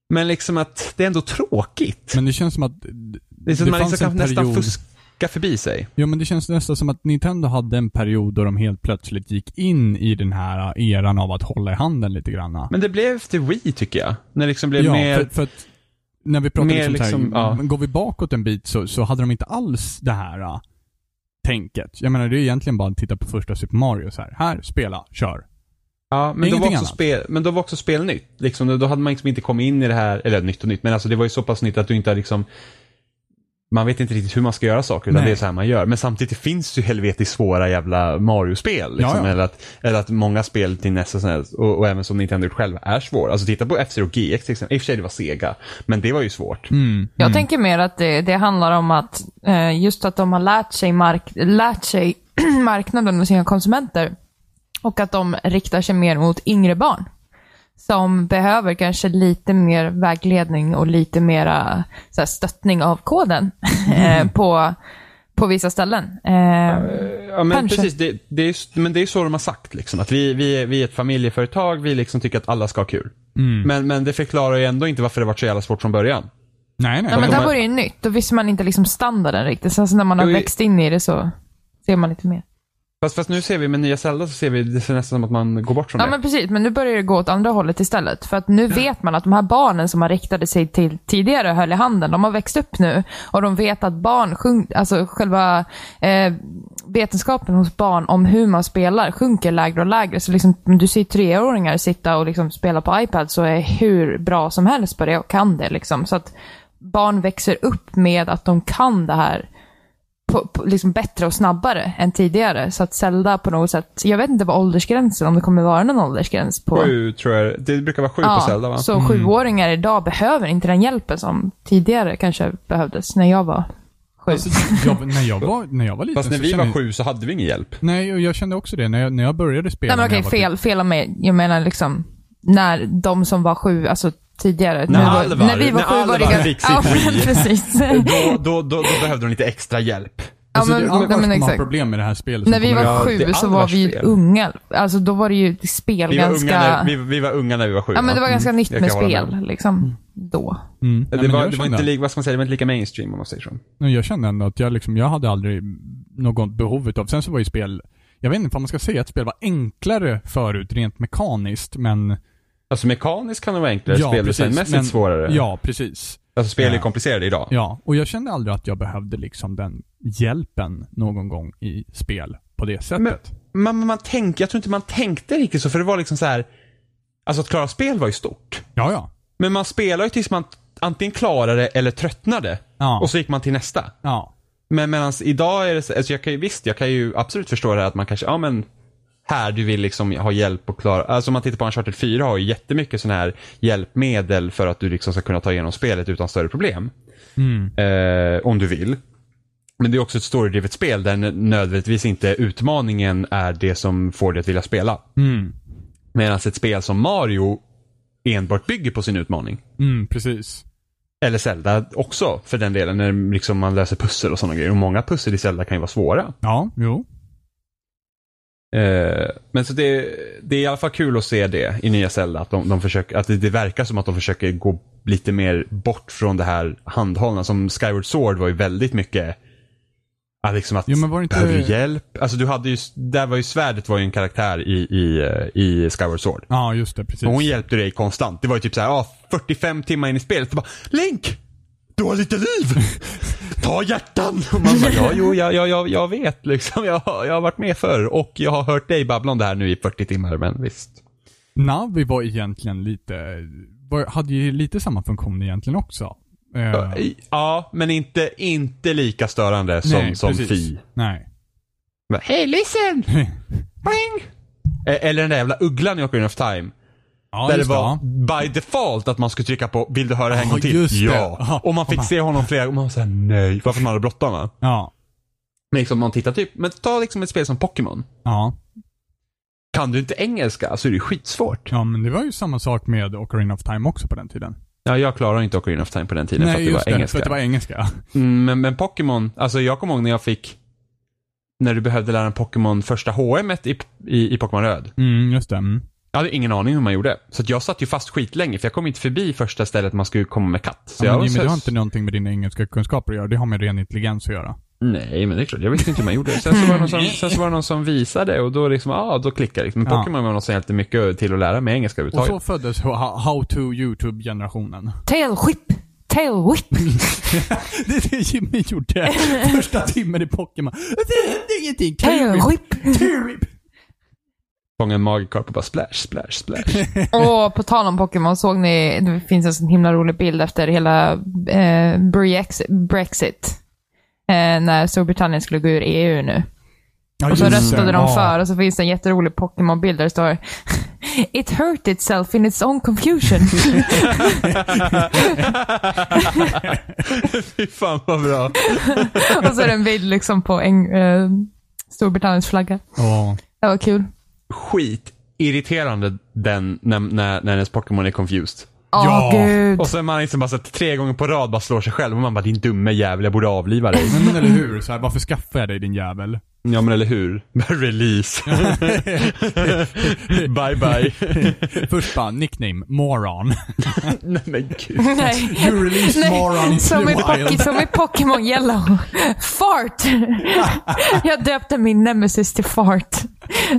Men liksom att det är ändå tråkigt.
Men det känns som att...
det är så
det
att man liksom
fanns en
kan nästan
period-
fuska förbi sig.
Ja, men det känns nästan som att Nintendo hade en period då de helt plötsligt gick in i den här eran av att hålla i handen lite granna.
Men det blev till Wii tycker jag. När det liksom blev
ja,
mer...
för, för att när vi pratar
mer
liksom,
liksom,
så här,
ja.
går vi bakåt en bit så, så hade de inte alls det här äh, tänket. Jag menar, det är egentligen bara att titta på första Super Mario så här. Här, spela, kör.
Ja, men då, var
Ingenting
också
annat.
spel, men då var också spel nytt. Liksom, då hade man liksom inte kommit in i det här, eller nytt och nytt, men alltså det var ju så pass nytt att du inte hade liksom man vet inte riktigt hur man ska göra saker, utan
Nej.
det är så här man gör. Men samtidigt finns det ju helvetiskt svåra jävla Mario-spel. Liksom,
Ja, ja.
Eller, att, eller att många spel till nästa sån här, och, och även som Nintendo gjort själva, är svåra. Alltså titta på F-Zero GX till exempel. I och för sig det var Sega, men det var ju svårt.
Mm.
Jag tänker mer att det, det handlar om att eh, just att de har lärt sig, mark- lärt sig marknaden och sina konsumenter. Och att de riktar sig mer mot yngre barn. Som behöver kanske lite mer vägledning och lite mera så här, stöttning av koden eh, på, på vissa ställen. Eh,
Ja, men
Kanske.
precis. Det, det är, ju- men det är ju så de har sagt. Liksom, att vi, vi, är, vi är ett familjeföretag, vi liksom tycker att alla ska ha kul.
Mm.
Men, men det förklarar ju ändå inte varför det varit så jävla svårt från början.
Nej, nej.
ja, men
de
där
har-
var det ju nytt. Då visste man inte liksom standarden riktigt. Sen så alltså när man har
Jo, i-
växt in i det så ser man lite mer.
Fast, fast nu ser vi med nya Zelda så ser vi det ser nästan som att man går bort från
Ja
det.
men precis, men nu börjar det gå åt andra hållet istället. För att nu vet man att de här barnen som man riktade sig till tidigare och höll i handen, de har växt upp nu. Och de vet att barn sjunk, alltså själva eh, vetenskapen hos barn om hur man spelar sjunker lägre och lägre. Så liksom, om du ser treåringar sitta och liksom spela på iPad så är hur bra som helst på det och kan det. Liksom. Så att barn växer upp med att de kan det här på, på, liksom bättre och snabbare än tidigare. Så att Zelda på något sätt, jag vet inte vad åldersgränsen, om det kommer vara någon åldersgräns på...
Sju tror jag det brukar vara sju på Zelda va? Mm.
så sjuåringar idag behöver inte den hjälpen som tidigare kanske behövdes när jag var sju.
Alltså, jag, när, jag var, när jag var liten
Fast när
så
vi
kände
var
jag-
sju så hade vi ingen hjälp.
Nej, och jag kände också det. När jag, när jag började spela.
Nej men
när
okej,
jag var typ-
fel, fel av mig. Jag menar liksom när de som var sju, alltså tidigare.
När
nu var-
Alvar-
när vi var
när
sju var det
Alvar
ganska-
fick sitt Alltså,
Ja, men
Wii.
precis.
Då, då, då, då behövde de lite extra hjälp.
Ja,
Alltså, det,
men-
alltid
ja, men
man har
exakt.
problem med det här spelet. så
När vi
kommer
Ja,
var
det är
sju så var
Alvars
vi ju
fel.
unga. Alltså då var det ju spel
Vi,
ganska...
var, unga när, vi, vi var unga när vi var sju.
Ja, men det var ganska
Mm,
nytt
jag
med
kan hålla
spel liksom då.
jag- Mm. Nej,
Det
men
var,
jag
det var
kände-
inte, li- vad ska man säga, det var inte lika mainstream om man säger så.
Nej, Jag kände ändå att jag, liksom, jag hade aldrig något behov utav... Sen så var ju spel... Jag vet inte om man ska säga att spel var enklare förut, rent mekaniskt, men...
Alltså mekaniskt kan det vara enklare,
Ja,
speldesignmässigt
men-
svårare.
Ja, precis.
Alltså spel är
Ja.
komplicerade idag.
Ja, och jag kände aldrig att jag behövde liksom den hjälpen någon gång i spel på det sättet.
Man, man, man tänk, jag tror inte man tänkte riktigt så, för det var liksom så här. Alltså att klara spel var ju stort.
Ja, ja.
Men man spelar ju tills man antingen klarar det eller tröttnade.
Ja.
Och så gick man till nästa.
Ja.
Men medans idag är det så, alltså jag kan ju visst, jag kan ju absolut förstå det här att man kanske, ja men här du vill liksom ha hjälp och klara, alltså om man tittar på Uncharted 4 har ju jättemycket sådana här hjälpmedel för att du liksom ska kunna ta igenom spelet utan större problem. Eh, om du vill. Men det är också ett storydrivet spel där n- nödvändigtvis inte utmaningen är det som får dig att vilja spela. Medan ett spel som Mario enbart bygger på sin utmaning.
Mm, precis.
Eller Zelda också för den delen, när liksom man löser pussel och sådana grejer. Och många pussel i Zelda kan ju vara svåra.
Ja, jo.
Eh, Men så det, det är i alla fall kul att se det i nya Zelda. Att, de, de försöker, att det, det verkar som att de försöker gå lite mer bort från det här handhållna. Som Skyward Sword var ju väldigt mycket Ja, liksom att,
Jo, men var det inte-
behöver du hjälp? Alltså du hade ju, där var ju svärdet var ju en karaktär i, i, eh, i Skyward Sword.
Ja, just det. Precis.
Och hon hjälpte dig konstant. Det var ju typ så här, ah, 45 timmar in i spelet. Så bara, Link! Du har lite liv! Ta hjärtan! Och man bara, ja, jo, jag, jag, jag, jag vet liksom. Jag, har- jag har varit med förr och jag har hört dig babbla om det här nu i 40 timmar, men visst.
Navi var egentligen lite, var, hade ju lite samma funktion egentligen också. Eh,
Ja, men inte, inte lika störande som,
nej,
som
precis.
Fi.
Nej.
Men, Hey, listen! Boing! Eh, Eller den där jävla ugglan i Ocarina of Time.
Ja,
där det
just det.
var
ja.
by default att man skulle trycka på vill du höra det här en
Ja,
gång till?
just det.
Ja.
Ja.
Och man fick se honom flera gånger och man sa nej. Varför man hade bråttom va?
Ja.
Men liksom man tittar typ, men ta liksom ett spel som Pokémon.
Ja.
Kan du inte engelska så är det ju skitsvårt.
Ja, men det var ju samma sak med Ocarina of Time också på den tiden.
Ja, jag klarar inte Ocarina of Time på den tiden för att det var
för
engelska.
att det var engelska.
Mm, men, men Pokémon, alltså jag kommer ihåg när jag fick, när du behövde lära en Pokémon första HM i, i, i Pokémon Röd.
Mm, just det. Mm.
Jag hade ingen aning hur man gjorde. Så att jag satt ju fast skitlänge för jag kom inte förbi första stället man skulle komma med katt. Så
Ja,
jag
men
var
Jimmy,
så-
det har inte någonting med dina engelska kunskaper att göra. Det har med ren intelligens att göra.
Nej, men det är klart. Jag visste inte hur man gjorde. Sen så var det någon som, sen så var det någon som visade och då liksom, ah, då klickade det liksom. Men
Ja.
Pokémon var något som hjälpte mycket till att lära mig engelska
Och
överhuvudtaget.
så föddes ho- How to YouTube-generationen.
Tail whip! Tail whip!
Det är det Jimmy gjorde första timmen i Pokémon. Det hände ingenting.
Tail whip!
Turip.
fånga en magikarp och bara splash, splash, splash.
Och på tal om Pokémon, såg ni, det finns en sån himla rolig bild efter hela eh, Brexit, Brexit eh, när Storbritannien skulle gå ur EU nu.
Ja,
Och så
just det.
röstade de
Ja.
för och så finns det en jätterolig Pokémon-bild där det står It hurt itself in its own confusion.
Fy fan vad bra.
och så är det en bild liksom på en, eh, Storbritanniens flagga.
Ja.
Det var kul.
Skit irriterande den när, när, när ens Pokémon är confused.
Åh
Ja.
gud.
Och så är man liksom bara så att tre gånger på rad bara slår sig själv och man bara din dumme jävel, jag borde avliva dig.
Men, men eller hur? Så här, varför skaffar jag dig din jävel?
ja men eller hur? Release. bye bye.
Först bara, nickname, moron.
Nej men gud.
Nej.
You released moron into
som,
the
i Pock-
wild.
som i Pokémon Yellow. Fart! Jag döpte min nemesis till Fart.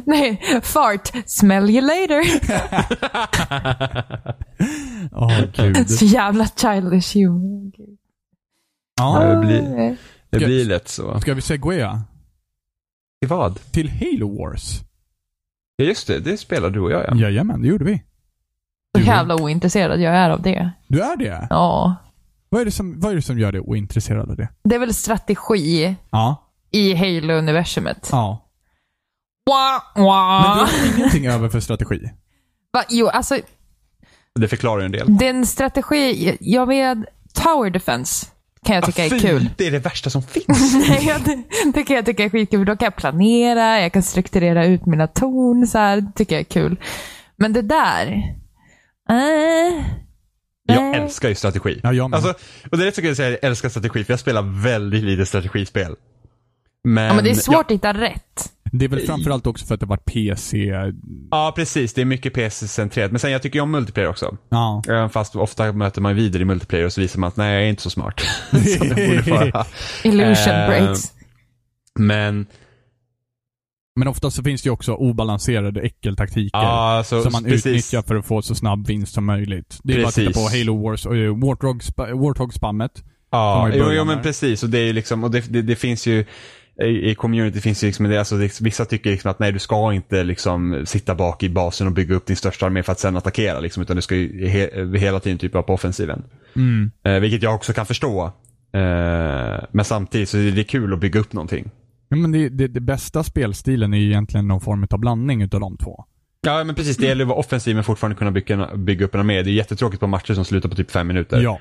Nej, Fart. Smell you later.
Åh, gud.
Så jävla childish Ah. you.
Ja.
Det blir, det blir lätt så.
Ska vi segwaya?
I vad?
Till Halo Wars.
Ja just det, det spelar du och jag ja.
Jajamän, det gjorde vi.
Så jävla ointresserad jag är av det.
Du är det?
Ja.
Vad är det som, vad är det som gör dig ointresserad av det?
Det är väl strategi
Ja.
i Halo-universumet.
Ja.
Wah,
Men du
wah.
har ingenting över för strategi?
Va, jo, alltså
Det förklarar ju en del.
den strategi, jag med Tower Defense kan jag
Ah,
tycka är
Ah, Fy,
kul.
Det är det värsta som finns.
Nej, jag, det- det kan jag tycka är skitkul. för Då kan jag planera, jag kan strukturera ut mina torn. Så här, det tycker jag är kul. Men det där... Äh,
Jag
nej.
älskar ju strategi.
Ja, jag med.
alltså, och det är rätt så kul att säga att jag älskar strategi, för jag spelar väldigt lite strategispel. Men,
ja, men det är svårt att hitta rätt.
Det är väl framförallt också för att det var PC...
Ja, precis. Det är mycket PC-centrerat. Men sen jag tycker ju om multiplayer också.
Ja.
Även fast ofta möter man vidare i multiplayer och så visar man att nej, jag är inte så smart. som jag borde vara.
Illusion
Eh,
breaks.
Men,
Men ofta så finns det ju också obalanserade äckeltaktiker.
ja, så,
som man
precis.
utnyttjar för att få så snabb vinst som möjligt. Det är bara att titta
Precis.
på Halo Wars och eh, Warthog spa- Warthog-spammet. som
Ja,
var i
jo,
början
jo
där.
men precis. Och det, är ju liksom, och det, det, det finns ju i i community finns ju liksom det, alltså det, vissa tycker liksom att nej du ska inte liksom sitta bak i basen och bygga upp din största armé för att sen attackera liksom, utan du ska ju he, hela tiden typ vara på offensiven.
Mm.
Eh, vilket jag också kan förstå. Eh, men samtidigt så är det kul att bygga upp någonting.
Ja, men det, det, det bästa spelstilen är ju egentligen någon form av blandning utav de två.
Ja men precis, det gäller att vara offensiv men fortfarande kunna bygga, bygga upp en armé. Det är jättetråkigt på matcher som slutar på typ fem minuter.
Ja.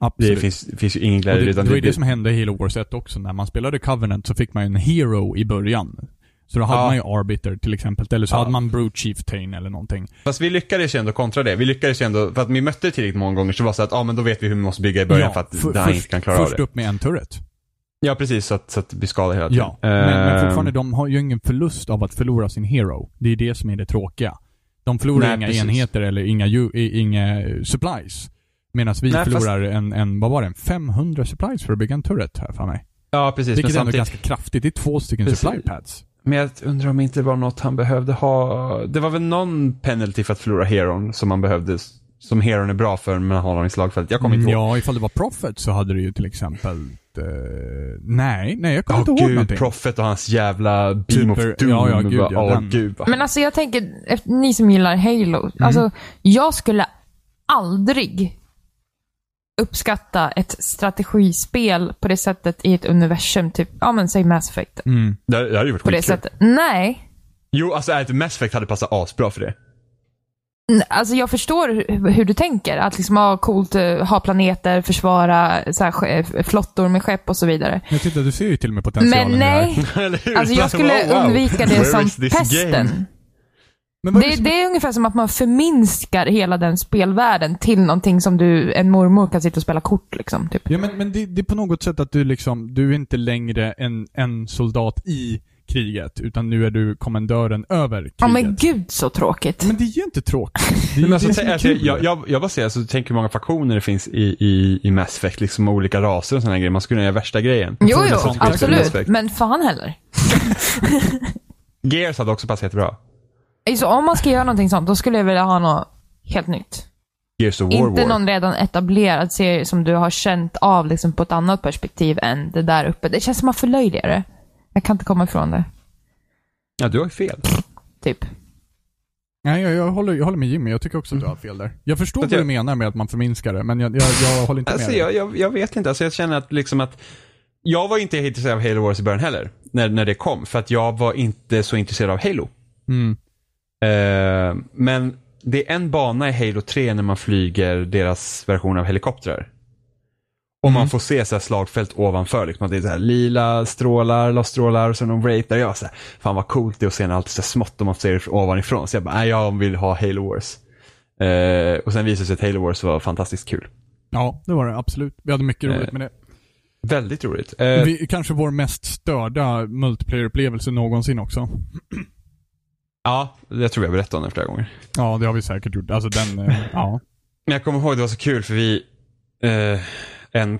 det
Absolut.
finns, finns ju ingen
Och
glädje.
det, det
utan
var ju det som hände i Halo Wars 1 också. När man spelade Covenant så fick man ju en Hero i början. Så då hade
Ja.
man ju Arbiter till exempel, eller så
Ja.
hade man Brute Chieftain eller någonting.
Fast vi lyckades ju ändå kontra det. Vi lyckades ju ändå, för att vi mötte det tillräckligt många gånger så var det så att, ja ah, men då vet vi hur vi måste bygga i början för att
för-
den här
först-
inte kan klara av
Först
det.
upp med en turret.
Ja, precis. Så att, så att det blir skada hela tiden.
Ja, men, men
Ehm,
fortfarande, de har ju ingen förlust av att förlora sin hero. Det är det som är det tråkiga. De förlorar
Nej,
inga
precis.
enheter eller inga, ju- i- inga eh, supplies. Medan vi
Nej, fast-
förlorar en, en, vad var det, en 500 supplies för att bygga en turret här för mig.
ja, precis. Men,
Vilket är ändå
samtidigt,
ganska kraftigt. Det är två stycken
Precis.
supply pads.
men jag undrar om inte det var något han behövde ha. Det var väl någon penalty för att förlora heron som man behövde. Som heron är bra för, men han har i slagfältet. Jag kommer inte ihåg.
Mm, ja, ifall det var Prophet så hade det ju till exempel... eh, nej, nej jag kommer
Ja,
inte ihåg
gud.
någonting.
Prophet och hans jävla beam
Super-
of doom.
ja, ja, gud,
Bara,
ja,
åh,
den.
gud. vad-
Men alltså jag tänker, efter- ni som gillar Halo. Alltså, jag skulle aldrig uppskatta ett strategispel på det sättet i ett universum. Typ, ja men säg Mass Effect.
Mm.
Det, det hade ju varit
På det
skitkul.
sättet. Nej.
Jo, alltså ett Mass Effect hade passat asbra för det.
N- Alltså jag förstår hu- hur du tänker. Att liksom ha coolt, eh, ha planeter, försvara så här, ske- flottor med skepp och så vidare.
Jag tittar, du ser ju till och med potentialen
Men
i det här.
nej.
Eller hur?
Alltså jag skulle
Wow, wow.
undvika det
Where
som
is this game?
pesten.
Men vad är
Det,
det som-
det är ungefär som att man förminskar hela den spelvärlden till någonting som du, en mormor kan sitta och spela kort liksom. Typ.
Ja men, men det, det är på något sätt att du liksom, du är inte längre en, en soldat i kriget, utan nu är du kommendören över kriget.
Ja men gud så tråkigt.
Men det är ju inte tråkigt. Det är
Nej,
ju
Men
det
alltså,
som
tänk-
är
alltså,
kul.
jag, jag, jag bara säger, alltså, tänk hur många faktioner det finns i, i, i Mass Effect, liksom och olika raser och sådana grejer. Man skulle kunna göra värsta grejen. Alltså, typ
Jo, jo,
sånt är
absolut.
respekt.
Men fan heller.
Gears hade också passat jättebra.
Så Alltså, om man ska göra någonting sånt, då skulle jag vilja ha något helt nytt.
Gears of War
Inte
War.
någon redan etablerad serie som du har känt av liksom, på ett annat perspektiv än det där uppe. Det känns som att man förlöjligar det. Jag kan inte komma ifrån det.
Ja, du har ju fel.
Typ.
Nej, jag, jag, håller, jag håller med Jimmy. Jag tycker också att du har fel där. Jag förstår
Att
vad du
Mm. Alltså, jag-
menar med att man förminskar det, men jag, jag, jag håller inte
Alltså,
med. dig.
jag, jag, jag vet inte. Alltså, jag känner att liksom att jag var inte helt intresserad av Halo Wars i början heller. När, när det kom. För att jag var inte så intresserad av Halo.
Mm.
Eh, men det är en bana i Halo 3 när man flyger deras version av helikoptrar. Och man får se så här slagfält ovanför. Liksom, att det är så här lila strålar, lastrålar och sen de ratear. Jag var så här, fan vad coolt det är att se när allt är så här smått och man ser det ovanifrån. Så jag bara, nej jag vill ha Halo Wars. Eh, och sen visade det sig att Halo Wars var fantastiskt kul.
Ja, det var det. Absolut. Vi hade mycket roligt
Eh,
med det.
Väldigt roligt. Eh,
Vi, kanske vår mest störda multiplayer-upplevelse någonsin också.
Ja, jag tror jag berättade om den flera gånger.
Ja, det har vi säkert gjort. Alltså den, eh, ja.
Men jag kommer ihåg det var så kul för vi, eh, en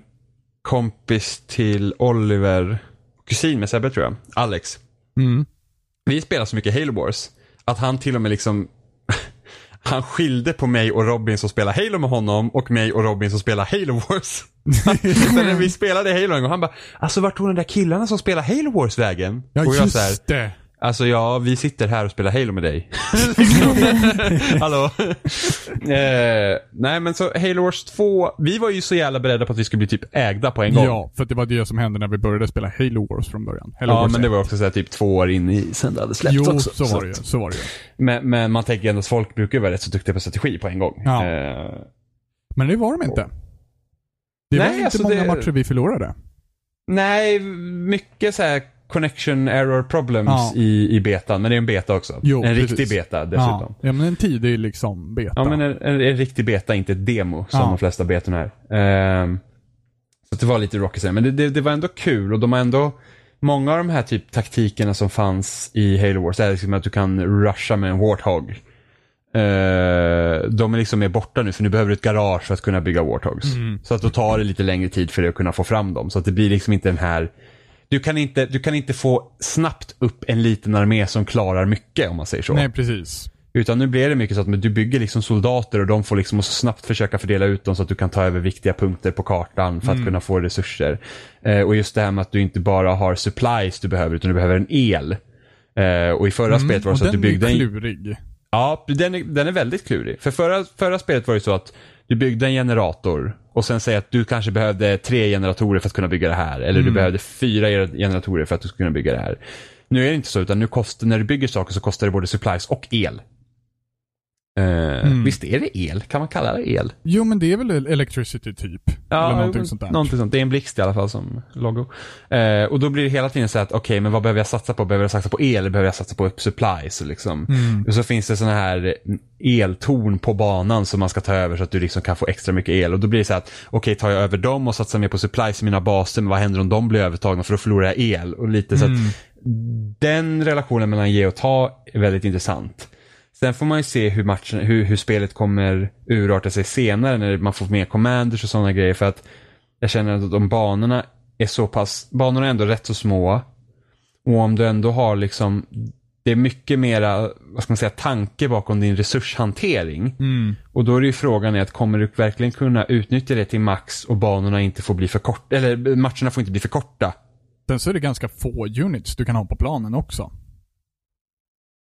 kompis till Oliver, kusin med Sebbe tror jag, Alex.
Mm.
Vi spelade så mycket Halo Wars att han till och med liksom, han skilde på mig och Robin som spelar Halo med honom och mig och Robin som spelar Halo Wars. så när vi spelade Halo en gång, han bara, alltså vart tog de där killarna som spelar Halo Wars vägen?
Ja,
och jag
just
så här,
det.
Alltså ja, vi sitter här och spelar Halo med dig. Hallå? eh, nej men så Halo Wars 2, vi var ju så jävla beredda på att vi skulle bli typ ägda på en gång.
Ja, för att det var det som hände när vi började spela Halo Wars från början. Halo
Ja,
Wars
men det
1.
var också så här, typ två år in i sen det hade släppts
Jo,
också.
så var det ju. Så var det ju.
Men, men man tänker ändå att folk brukar ju vara rätt så duktiga på strategi på en gång.
Ja.
Eh,
Men det var de inte. Det var
Nej,
inte
alltså
många
det-
matcher vi förlorade.
nej, mycket så här connection error problems
Ja.
i, i betan, men det är en beta också.
Jo,
en
precis.
riktig beta dessutom.
Ja, ja, men en tidig liksom beta.
Ja, men en, en, en riktig beta, inte ett demo som
Ja.
de flesta betorna är. Ehm, så det var lite rockigt men det, det, det var ändå kul och de har ändå Många av de här typ taktikerna som fanns i Halo Wars, är liksom att du kan rusha med en Warthog. Eh, de är liksom mer borta nu för nu behöver du ett garage för att kunna bygga Warthogs.
Mm.
Så att då tar det lite längre tid för dig att kunna få fram dem. Så att det blir liksom inte den här du kan inte, du kan inte få snabbt upp en liten armé som klarar mycket om man säger så.
Nej, precis.
Utan nu blir det mycket så att men du bygger liksom soldater och de får liksom måste snabbt försöka fördela ut dem så att du kan ta över viktiga punkter på kartan för
Mm.
att kunna få resurser. Eh, och just det här med att du inte bara har supplies du behöver utan du behöver en el. Eh, och i förra spelet
Mm,
var det
Och
så att du
den är
byggde en...
klurig.
Ja, den är, den är väldigt klurig. För förra, förra spelet var det så att du byggde en generator och sen säger att du kanske behövde tre generatorer för att kunna bygga det här. Eller du behövde fyra gener- generatorer för att du skulle kunna bygga det här. Nu är det inte så, utan nu kostar, när du bygger saker så kostar det både supplies och el. Eh,
Mm.
Visst är det el? Kan man kalla det el?
Jo, men det är väl electricity typ? eller någonting
men-
sånt där.
någonting sånt. Det är en blixt i alla fall som logo. Eh, och då blir det hela tiden så här att, okej, men vad behöver jag satsa på? Behöver jag satsa på el? eller Behöver jag satsa på supplies? Liksom. Och så finns det såna här eltorn på banan som man ska ta över så att du liksom kan få extra mycket el. Och då blir det så här att, okej, tar jag över dem och satsar mer på supplies i mina baser, men vad händer om de blir övertagna för då förlorar jag el? Och lite så att, den relationen mellan ge och ta är väldigt intressant. Sen får man ju se hur, matchen, hur, hur spelet kommer urarta sig senare när man får mer commanders och sådana grejer. För att jag känner att de banorna är så pass, banorna är ändå rätt så små. Och om du ändå har liksom, det är mycket mera, vad ska man säga, tanke bakom din resurshantering.
Mm.
Och då är det ju frågan är att kommer du verkligen kunna utnyttja det till max och banorna inte får bli för korta, eller matcherna får inte bli för korta.
Sen så är det ganska få units du kan ha på planen också.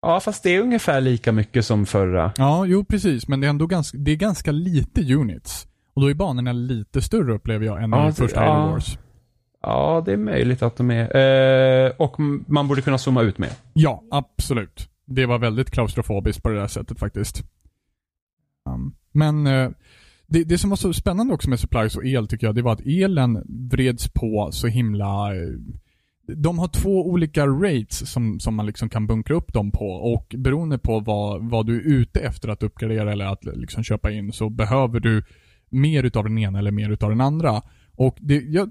Ja, fast det är ungefär lika mycket som förra.
Ja, jo precis. Men det är ändå ganska, det är ganska lite units. Och då är banorna lite större upplever jag än
Ja,
i
det-
första
ja.
Halo Wars.
Ja, det är möjligt att de är. Eh, och m- man borde kunna zooma ut mer.
Ja, absolut. Det var väldigt klaustrofobiskt på det där sättet faktiskt. Um, men eh, det, det som var så spännande också med supplies och el tycker jag, det var att elen vreds på så himla... eh, De har två olika rates som, som man liksom kan bunkra upp dem på och beroende på vad, vad du är ute efter att uppgradera eller att liksom köpa in så behöver du mer utav den ena eller mer utav den andra. Och det, jag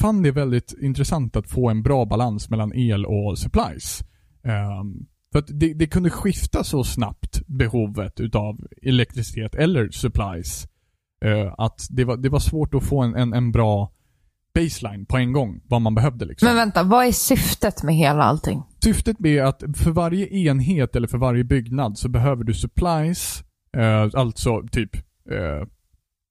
fann det väldigt intressant att få en bra balans mellan el och supplies. Ehm, för att det, det kunde skifta så snabbt behovet utav elektricitet eller supplies. eh, att det var, det var svårt att få en, en, en bra baseline på en gång, vad man behövde liksom.
Men vänta, vad är syftet med hela allting?
Syftet med att för varje enhet eller för varje byggnad så behöver du supplies, eh, alltså typ eh,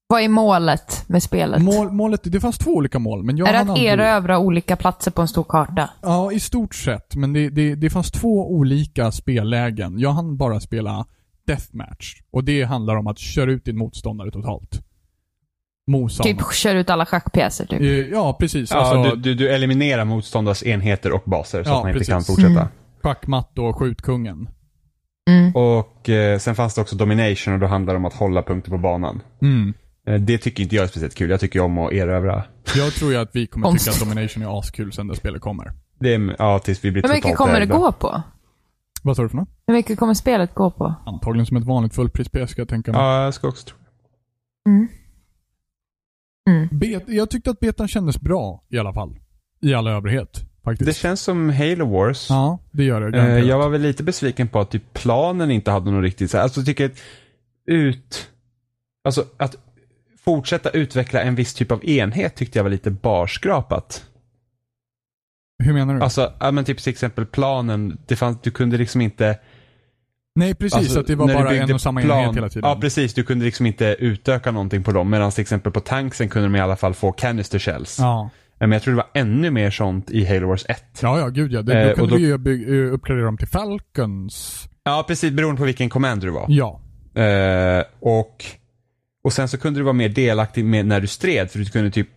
Vad är målet med spelet?
Mål, målet, det fanns två olika mål. Men jag
är det
hann
att
aldrig-
erövra olika platser på en stor karta?
Ja, i stort sett. Men det, det, det fanns två olika spellägen. Jag hann bara spela Deathmatch. Och det handlar om att köra ut din motståndare totalt. Mosa
Typ
honom.
kör ut alla schackpjäser typ.
Eh, Ja, precis.
Ja,
alltså,
du, du, du eliminerar motståndarens enheter och baser så
Ja,
att man inte
precis.
kan fortsätta.
Mm.
schackmatt och skjutkungen.
Mm.
Och eh, sen fanns det också domination och då handlar det om att hålla punkter på banan.
Mm.
Eh, det tycker inte jag är speciellt kul. Jag tycker ju om att erövra.
Jag tror ju att vi kommer tycka att
Konstigt.
Domination är askul sen det spelet kommer.
Det är, ja, tills vi blir
Hur
totalt
mycket kommer det
ägda.
gå på?
Vad sa du för något?
Hur mycket kommer spelet gå på?
Antagligen som ett vanligt fullpris-spel ska jag tänka mig.
Ja, jag ska också tro.
Mm. Mm.
Bet- jag tyckte att betan kändes bra i alla fall. I all övrighet, faktiskt.
Det känns som Halo Wars.
Ja, det gör det.
Eh,
garanterat.
jag var väl lite besviken på att typ planen inte hade någon riktigt så här, alltså jag tycker att ut, alltså att fortsätta utveckla en viss typ av enhet tyckte jag var lite barskrapat.
Hur menar du?
Alltså, ja men typ till exempel planen, det fanns, du kunde liksom inte,
Nej precis,
alltså,
att det var
när du
bara en
byggde
och samma
plan-
enhet hela tiden.
Ja precis, du kunde liksom inte utöka någonting på dem, medan till exempel på tanksen kunde de i alla fall få canister shells.
Ja.
Men jag tror det var ännu mer sånt i Halo Wars 1.
ja, ja, gud ja. Det,
Eh,
då
och
kunde
då-
du ju byg- eh, uppgradera dem till Falcons.
Ja precis, beroende på vilken commander du var.
Ja.
Eh, och, och sen så kunde du vara mer delaktig med när du stred, för du kunde typ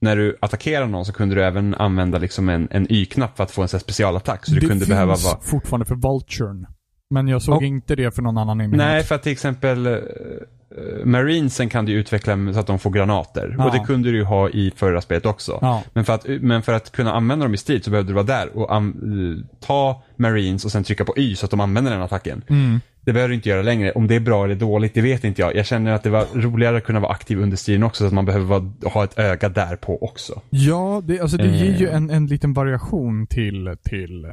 när du attackerade någon så kunde du även använda liksom en, en Y-knapp för att få en sån här specialattack. Så du
det
kunde
finns
behöva vara...
fortfarande för Vulturen. Men jag såg
Och-
inte det för någon annan enhet.
Nej, för att till exempel eh, eh, Marinesen kan du ju utveckla så att de får granater.
Ja.
Och det kunde du ju ha i förra spelet också.
Ja.
Men, för att, eh, men för att kunna använda dem i strid så behövde du vara där och an- eh, ta Marines och sen trycka på Y så att de använder den attacken.
Mm.
Det behöver du inte göra längre. Om det är bra eller dåligt, det vet inte jag. Jag känner att det var roligare att kunna vara aktiv under striden också, så att man behöver vara, ha ett öga där på också.
Ja, det, alltså det
Eh.
ger ju en, en liten variation till, till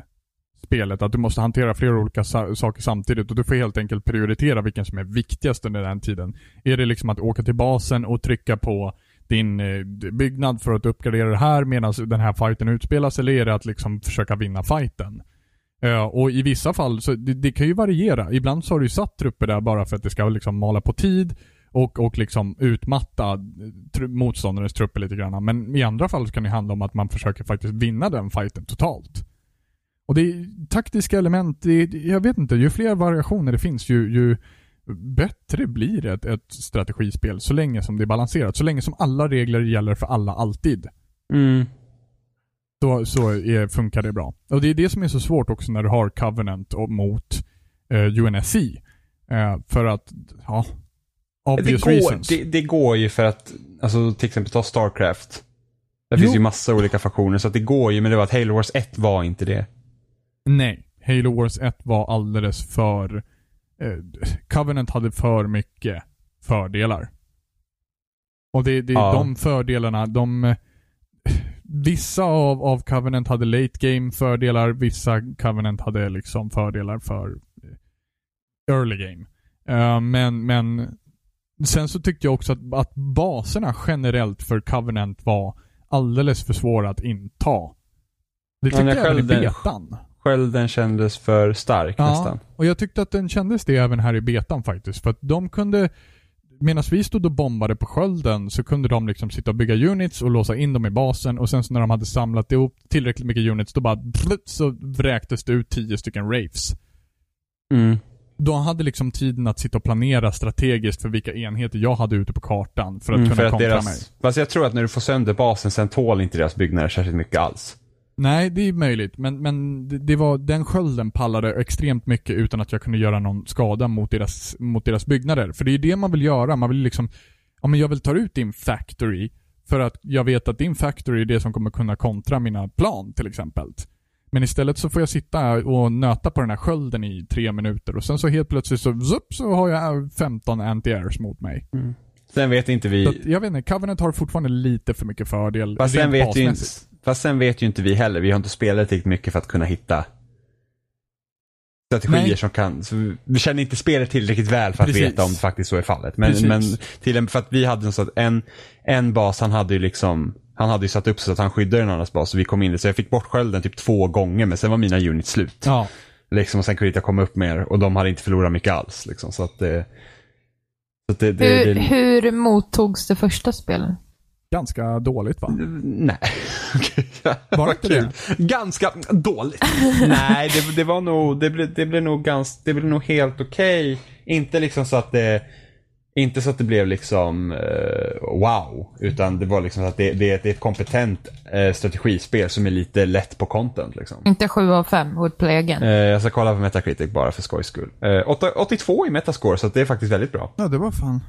spelet. Att du måste hantera flera olika sa- saker samtidigt och du får helt enkelt prioritera vilken som är viktigast under den tiden. Är det liksom att åka till basen och trycka på din eh, byggnad för att uppgradera det här medan den här fighten utspelas eller är det att liksom försöka vinna fighten? Eh, och i vissa fall, så det, det kan ju variera. Ibland så har du ju satt trupper där bara för att det ska liksom mala på tid och, och liksom utmatta tru, motståndarens trupper lite grann. Men i andra fall så kan det handla om att man försöker faktiskt vinna den fighten totalt. Och det är taktiska element, det, det- jag vet inte, ju fler variationer det finns ju, ju bättre blir det ett, ett strategispel så länge som det är balanserat. Så länge som alla regler gäller för alla alltid. Mm. Då, så är, funkar det bra. Och det är det som är så svårt också när du har Covenant och mot eh, UNSC. Eh, för att, ja.
Det
Obvious reasons.
går, det, det går ju för att, alltså till exempel ta Starcraft. Där finns
Jo.
ju massa olika faktioner så att det går ju men det var att Halo Wars 1 var inte det.
Nej. Halo Wars 1 var alldeles för... Eh, Covenant hade för mycket fördelar. Och det, det är
Ja.
de fördelarna, de... eh, Vissa av, av Covenant hade late game fördelar, vissa Covenant hade liksom fördelar för eh, early game. Eh, men, men sen så tyckte jag också att, att baserna generellt för Covenant var alldeles för svåra att inta. Det tyckte jag
jag
även i
själv-
betan.
Skölden kändes för stark nästan.
Och jag tyckte att den kändes det även här i betan faktiskt. För att de kunde, medan vi stod och bombade på skölden så kunde de liksom sitta och bygga units och låsa in dem i basen och sen så när de hade samlat ihop tillräckligt mycket units då bara plutt, så vräktes det ut tio stycken raves.
Mm.
De hade liksom tiden att sitta och planera strategiskt för vilka enheter jag hade ute på kartan för att
Mm,
kunna
för att
kontra
deras,
mig.
Fast jag tror att när du får sönder basen sen tål inte deras byggnader särskilt mycket alls.
Nej, det är möjligt. Men, men det, det var, den skölden pallade extremt mycket utan att jag kunde göra någon skada mot deras, mot deras byggnader. För det är ju det man vill göra. Man vill liksom, ja men jag vill ta ut din factory för att jag vet att din factory är det som kommer kunna kontra mina plan till exempel. Men istället så får jag sitta och nöta på den här skölden i tre minuter och sen så helt plötsligt så, zup, så har jag 15 anti-airs mot mig.
Sen vet inte
Så att,
vi...
jag vet inte, Covenant har fortfarande lite för mycket fördel.
Fast sen
rent
vet, ju inte,
basmässigt.
fast sen vet ju inte vi heller. Vi har inte spelat tillräckligt mycket för att kunna hitta strategier
Nej.
som kan... Så vi- vi känner inte spelet tillräckligt väl för att
Precis.
veta om det faktiskt så är fallet. Men,
Precis.
men till en, för att vi hade en, så att en, en bas, han hade ju liksom... Han hade ju satt upp så att han skyddade den andras bas så vi kom in där. Så jag fick bort skölden typ två gånger men sen var mina units slut.
Ja.
Liksom, och sen kunde jag inte komma upp mer och de hade inte förlorat mycket alls. Liksom, så att, eh, så att det, det,
Hur,
det,
hur mottogs det första spelet?
Ganska dåligt va?
Nej. Okej, ja,
Var
vad
inte
kul. Ganska dåligt. Nej, det, det var nog, det blev, det blev nog ganska, det blev nog helt okej. Inte liksom så att det, inte så att det blev liksom eh, wow. Utan det var liksom så att det, det, är ett- det är ett kompetent eh, strategispel som är lite lätt på content liksom.
Inte 7 av 5 Woodplay again.
Eh, jag ska kolla på Metacritic bara för skojs skull. Eh, 8, 82 i Metascore så att det är faktiskt väldigt bra.
Ja, det var fan.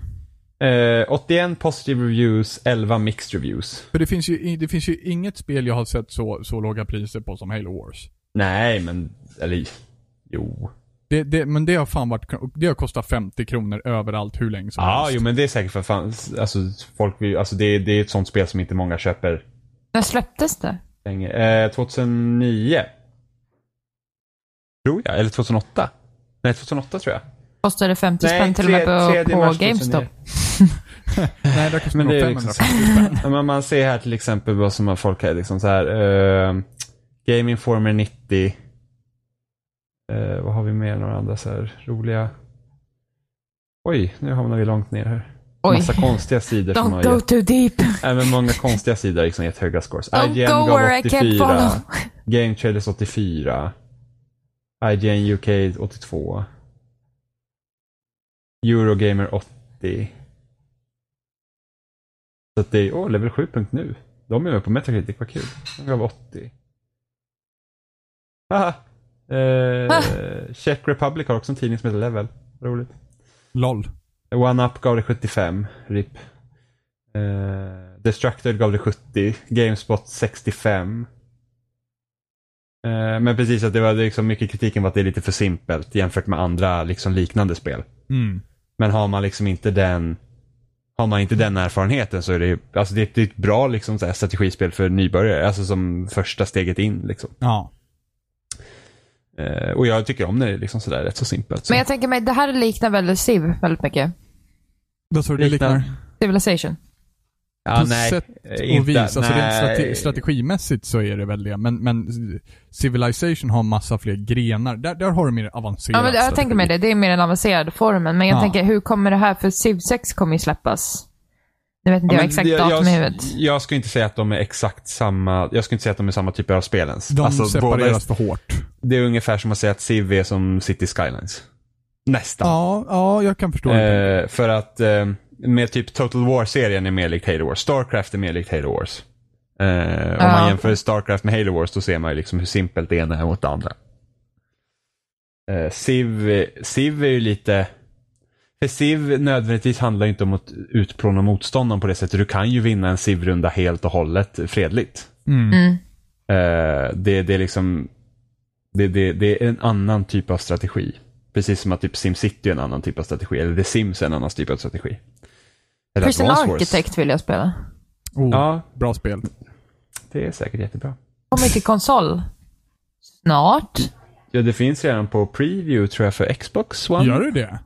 Eh, 81 positive reviews, 11 mixed reviews.
För det finns ju, det finns ju inget spel jag har sett så, så låga priser på som Halo Wars.
Nej, men, eller jo.
Det, det, men det har fan varit, det har kostat 50 kronor överallt hur länge som
Ja,
helst.
Ah, jo men det är säkert för fan, alltså folk vill, alltså det, är- det är ett sånt spel som inte många köper
När släpptes det?
länge. Eh, 2009. Tror jag, eller 2008. Nej, 2008 tror jag.
Kostade det 50
Nej,
spänn till och med
tre-
på,
tredje mars
på
2009.
GameStop?
Nej, det kostar
Men
nog
det är
550
liksom-
spänn.
Ja, men man ser här till exempel vad som har folk här, liksom så här. Eh, Game Informer 90. Eh, vad har vi mer? Några andra så här roliga. Oj, nu hamnar vi långt ner här.
Oj.
Massa konstiga sidor som har
Don't go
gett,
too deep.
även många konstiga sidor har liksom gett höga scores.
Don't
IGN
go
gav
where I can't
84.
follow.
Game Trailers 84. IGN UK 82. Eurogamer 80. Så att det är, åh, level 7.nu. De är med på Metacritic, vad kul. De gav 80. Haha.
Ah.
Eh, Czech Republic har också en tidning som heter Level. Roligt.
LOL.
One Up gav det 75, RIP. Eh, Destructoid gav det 70, Gamespot 65. Eh, men precis, att det var liksom mycket kritiken var att det är lite för simpelt jämfört med andra liksom liknande spel.
Mm.
Men har man liksom inte den har man inte den erfarenheten så är det ju, alltså det är ett, det är ett bra liksom så här strategispel för nybörjare, alltså som första steget in liksom.
Ja.
Eh, och jag tycker om när det är liksom sådär rätt så simpelt. Så.
Men jag tänker mig, det här liknar väl Civ väldigt mycket?
Vad sa du det liknar?
Civilization.
ja,
på
nej,
sätt och
Eh, inte-
vis. Alltså
nej.
rent strate strategimässigt så är det väl det. Men, men Civilization har massa fler grenar. Där, där har du mer avancerat
Ja, men jag
strategi.
tänker mig det. Det är mer den avancerade formen. Men jag
Ja.
tänker, hur kommer det här? För Civ 6 kommer ju släppas. Nu vet inte jag
men
exakt
jag-
datum i
jag,
huvudet.
jag skulle inte säga att de är exakt samma, jag skulle inte säga att de är samma typer av spel ens.
De
Alltså, båda är,
separeras för hårt.
det är ungefär som att säga att Civ är som City Skylines. Nästan.
Ja, ja, jag kan förstå det.
eh, för att eh, med typ Total War-serien är mer likt Halo Wars. Starcraft är mer likt Halo Wars. Eh, Om man
Ja.
jämför Starcraft med Halo Wars då ser man ju liksom hur simpelt det ena är mot det andra. Eh, Civ, Civ är ju lite, För SIV nödvändigtvis handlar ju inte om att utplåna motståndaren på det sättet. Du kan ju vinna en SIV-runda helt och hållet fredligt.
Mm.
Eh, det, det är liksom det, det, det är en annan typ av strategi. Precis som att typ SimCity är en annan typ av strategi. Eller The Sims är en annan typ av strategi. Eller
Prison
Advance Wars.
Architect vill jag spela.
Oh,
Ja,
Bra spel.
det är säkert jättebra.
Kommer till konsol. Snart.
Ja, det finns redan på preview tror jag för Xbox One.
Gör du det?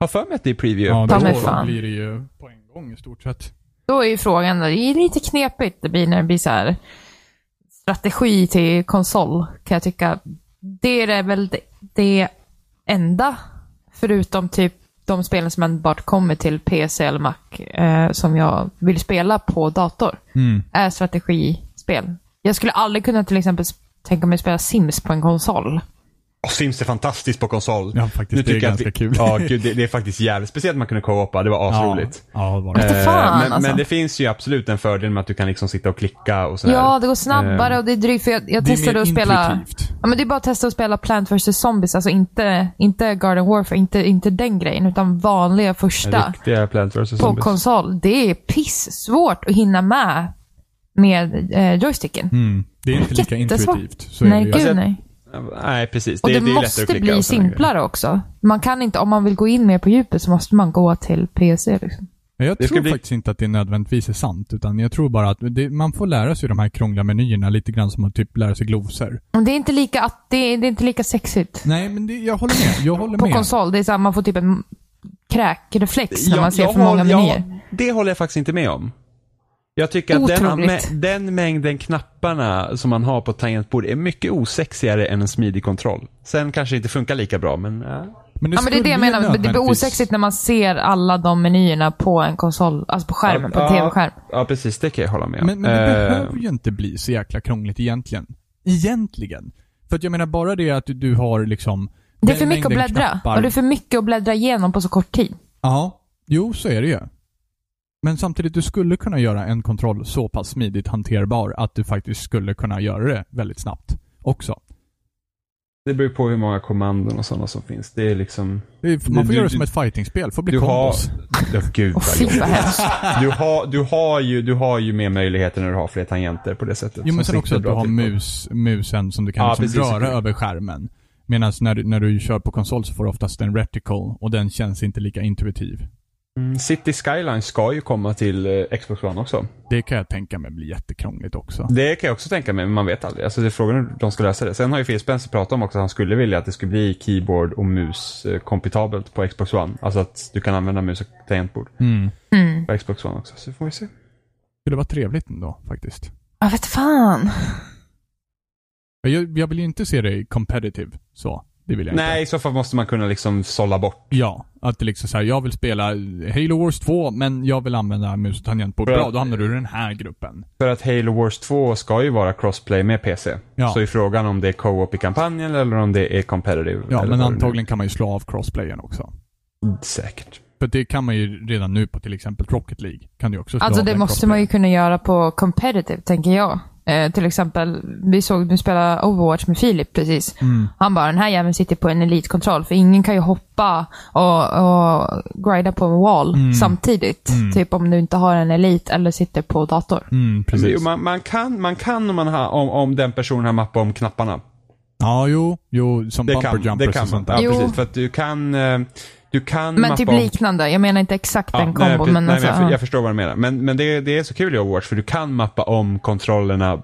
Har för mig att det är preview.
Ta
då
mig fan.
blir det ju på en gång i stort sett.
Då är ju frågan, det är lite knepigt det blir när det blir så här strategi till konsol, kan jag tycka. Det är väl det, det enda, förutom typ de spelen som enbart kommer till PC eller Mac, eh, som jag vill spela på dator,
Mm.
är strategispel. Jag skulle aldrig kunna till exempel s- tänka mig spela Sims på en konsol.
Och Sims är fantastiskt på konsol.
Ja, faktiskt. Det är
jag
ganska
att
kul.
Ja, gud, det, det är faktiskt jävligt speciellt att man kunde co-opa. Det var asroligt.
Ja, ja det var det.
Vete fan,
Eh, men,
alltså.
men det finns ju absolut en fördel med att du kan liksom sitta och klicka och sådär.
Ja, det går snabbare och det är drygt. För jag jag
Eh, Det är
testade
mer
att spela...
intuitivt.
Ja, men det är bara att testa att spela Plant vs. Zombies. Alltså inte, inte Garden Warfare, inte, inte den grejen, utan vanliga första
Riktiga Plants vs.
på
Zombies.
konsol. Det är pissvårt att hinna med med eh, joysticken.
Mm. Det är inte lika
Jättesvårt.
intuitivt. Så
Nej,
är det ju.
gud
Alltså,
nej.
Nej, precis.
Och
det, är
det,
ju lättare
måste
att klicka
bli
och sådana grejer.
simplare också. Man kan inte, om man vill gå in mer på djupet så måste man gå till PC. Liksom.
Men Jag
Det ska
tror
bli-
faktiskt inte att det nödvändigtvis är sant, utan jag tror bara att det, man får lära sig de här krångliga menyerna lite grann som att typ lära sig glosor.
Och Det är inte lika, att, det är, det är inte lika sexigt
Nej, men det, jag håller med. Jag håller
på
med.
konsol. Det är så här, man får typ en kräkreflex när
Jag-
man ser
jag
för många
håll- jag-
menyer.
Det håller jag faktiskt inte med om. Jag tycker att den,
Otroligt.
mä- den mängden knapparna som man har på tangentbordet är mycket osexigare än en smidig kontroll. Sen kanske det inte funkar lika bra, men... ja.
Men det,
Ja, men det är det jag
skulle ju
menar. Det blir
nödvändigtvis-
osexigt när man ser alla de menyerna på en konsol, alltså på skärmen, på en tv-skärm.
Ja, precis. Det kan jag hålla med om.
Men, men det
Eh,
behöver ju inte bli så jäkla krångligt egentligen. Egentligen. För att jag menar bara det att du, du har liksom...
Det är
den
för mycket att
mängden
bläddra.
knappar.
Och det är för mycket att bläddra igenom på så kort tid.
Ja, jo så är det ju. Men samtidigt, du skulle kunna göra en kontroll så pass smidigt hanterbar att du faktiskt skulle kunna göra det väldigt snabbt också.
Det beror på hur många kommandon och sådana som finns. Det är liksom...
Det är- Man får
Du-
göra det
du-
som ett fightingspel, får bli
Du har...
kombos.
Ja, gud
Och
vad
fy vad
jobbigt.
hemskt.
du har, du, har ju, du har ju mer möjligheter när du har fler tangenter på det sättet.
Jo men sen
som sitter
också att du
bra
har
till på.
mus, musen som du kan
Ja,
liksom
precis,
röra
okej.
över skärmen. Medan när du, när du kör på konsol så får du oftast en reticle och den känns inte lika intuitiv.
Mm, City Skyline ska ju komma till eh, Xbox One också.
Det kan jag tänka mig blir jättekrångligt också.
Det kan jag också tänka mig, men man vet aldrig. Alltså det är frågan hur de ska lösa det. Sen har ju Phil Spencer pratat om också att han skulle vilja att det skulle bli keyboard och mus eh, kompatibelt på Xbox One. Alltså att du kan använda mus och tangentbord
Mm.
Mm.
på Xbox One också. Så får vi se.
Skulle vara trevligt ändå faktiskt.
Jag vet fan.
Jag, jag vill ju inte se det i competitive så. Det vill jag inte.
Nej, i så fall måste man kunna liksom sålla bort.
Ja, att det liksom så här, jag vill spela Halo Wars 2 men jag vill använda mus och tangentbord.
Bra.
Bra, då hamnar du i den här gruppen.
För att Halo Wars 2 ska ju vara crossplay med PC.
Ja.
Så är frågan om det är co-op i kampanjen eller om det är competitive.
Ja, men
eller vad det nu är.
antagligen kan man ju slå av crossplayen också.
Säkert.
För det kan man ju redan nu på till exempel Rocket League. Kan du ju också slå
Alltså
av
det
den
måste man ju kunna göra på competitive, tänker jag. Eh, till exempel, vi såg du spela Overwatch med Filip precis.
Mm.
Han bara, den här jäveln sitter på en elitkontroll, för ingen kan ju hoppa och, och grida på en wall
Mm.
samtidigt. Typ om du inte har en elit eller sitter på dator.
crossplayen. Mm,
Jo,
precis.
Man, man, kan, man kan om, man har, om, om den personen har mappat om knapparna.
Ja, jo. Jo, som
Det
bumper
kan,
jumpers
det kan
och
man.
sånt där.
Ja,
Jo.
precis. För att du kan... eh, Du kan
Men
mappa
typ
om-
liknande. Jag menar inte exakt
Ja,
den kombon,
nej, precis.
men
nej,
alltså,
men jag,
ja.
jag förstår vad du menar. Men, men det, det är så kul i Overwatch för du kan mappa om kontrollerna
för,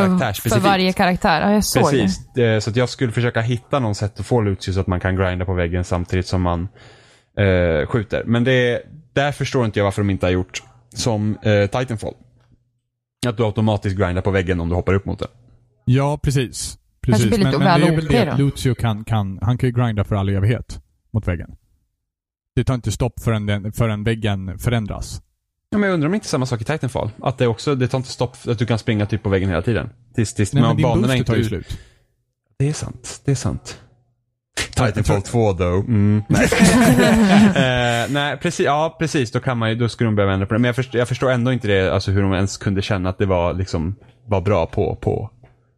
för
karaktärsspecifikt.
varje karaktär. Ja, jag såg
Precis. Eh, Så att jag skulle försöka hitta någon sätt att få Lucius att man kan grinda på väggen samtidigt som man eh, skjuter. Men det, där förstår inte jag varför de inte har gjort som eh, Titanfall. Att du automatiskt grindar på väggen om du hoppar upp mot den.
Ja, precis.
Kanske
precis.
blir lite
Men, men det är väl
väl
det
OP
att
då.
Lucio kan, kan, han kan ju grinda för all evighet mot väggen. Det tar inte stopp förrän, den, förrän väggen förändras.
Ja, men jag undrar om det inte är samma sak i Titanfall. Att det också, det tar inte stopp för att du kan springa typ på väggen hela tiden. Tills, tills
Nej,
man-
men din
banorna
booster
inte
tar ju
ut-
slut.
Det är sant, det är sant. Titanfall 2 though. Mm, nej. Eh, nej, precis, ja precis, då kan man ju, då skulle de behöva ändra på det. Men jag förstår, jag förstår ändå inte det, alltså hur de ens kunde känna att det var liksom, var bra på, på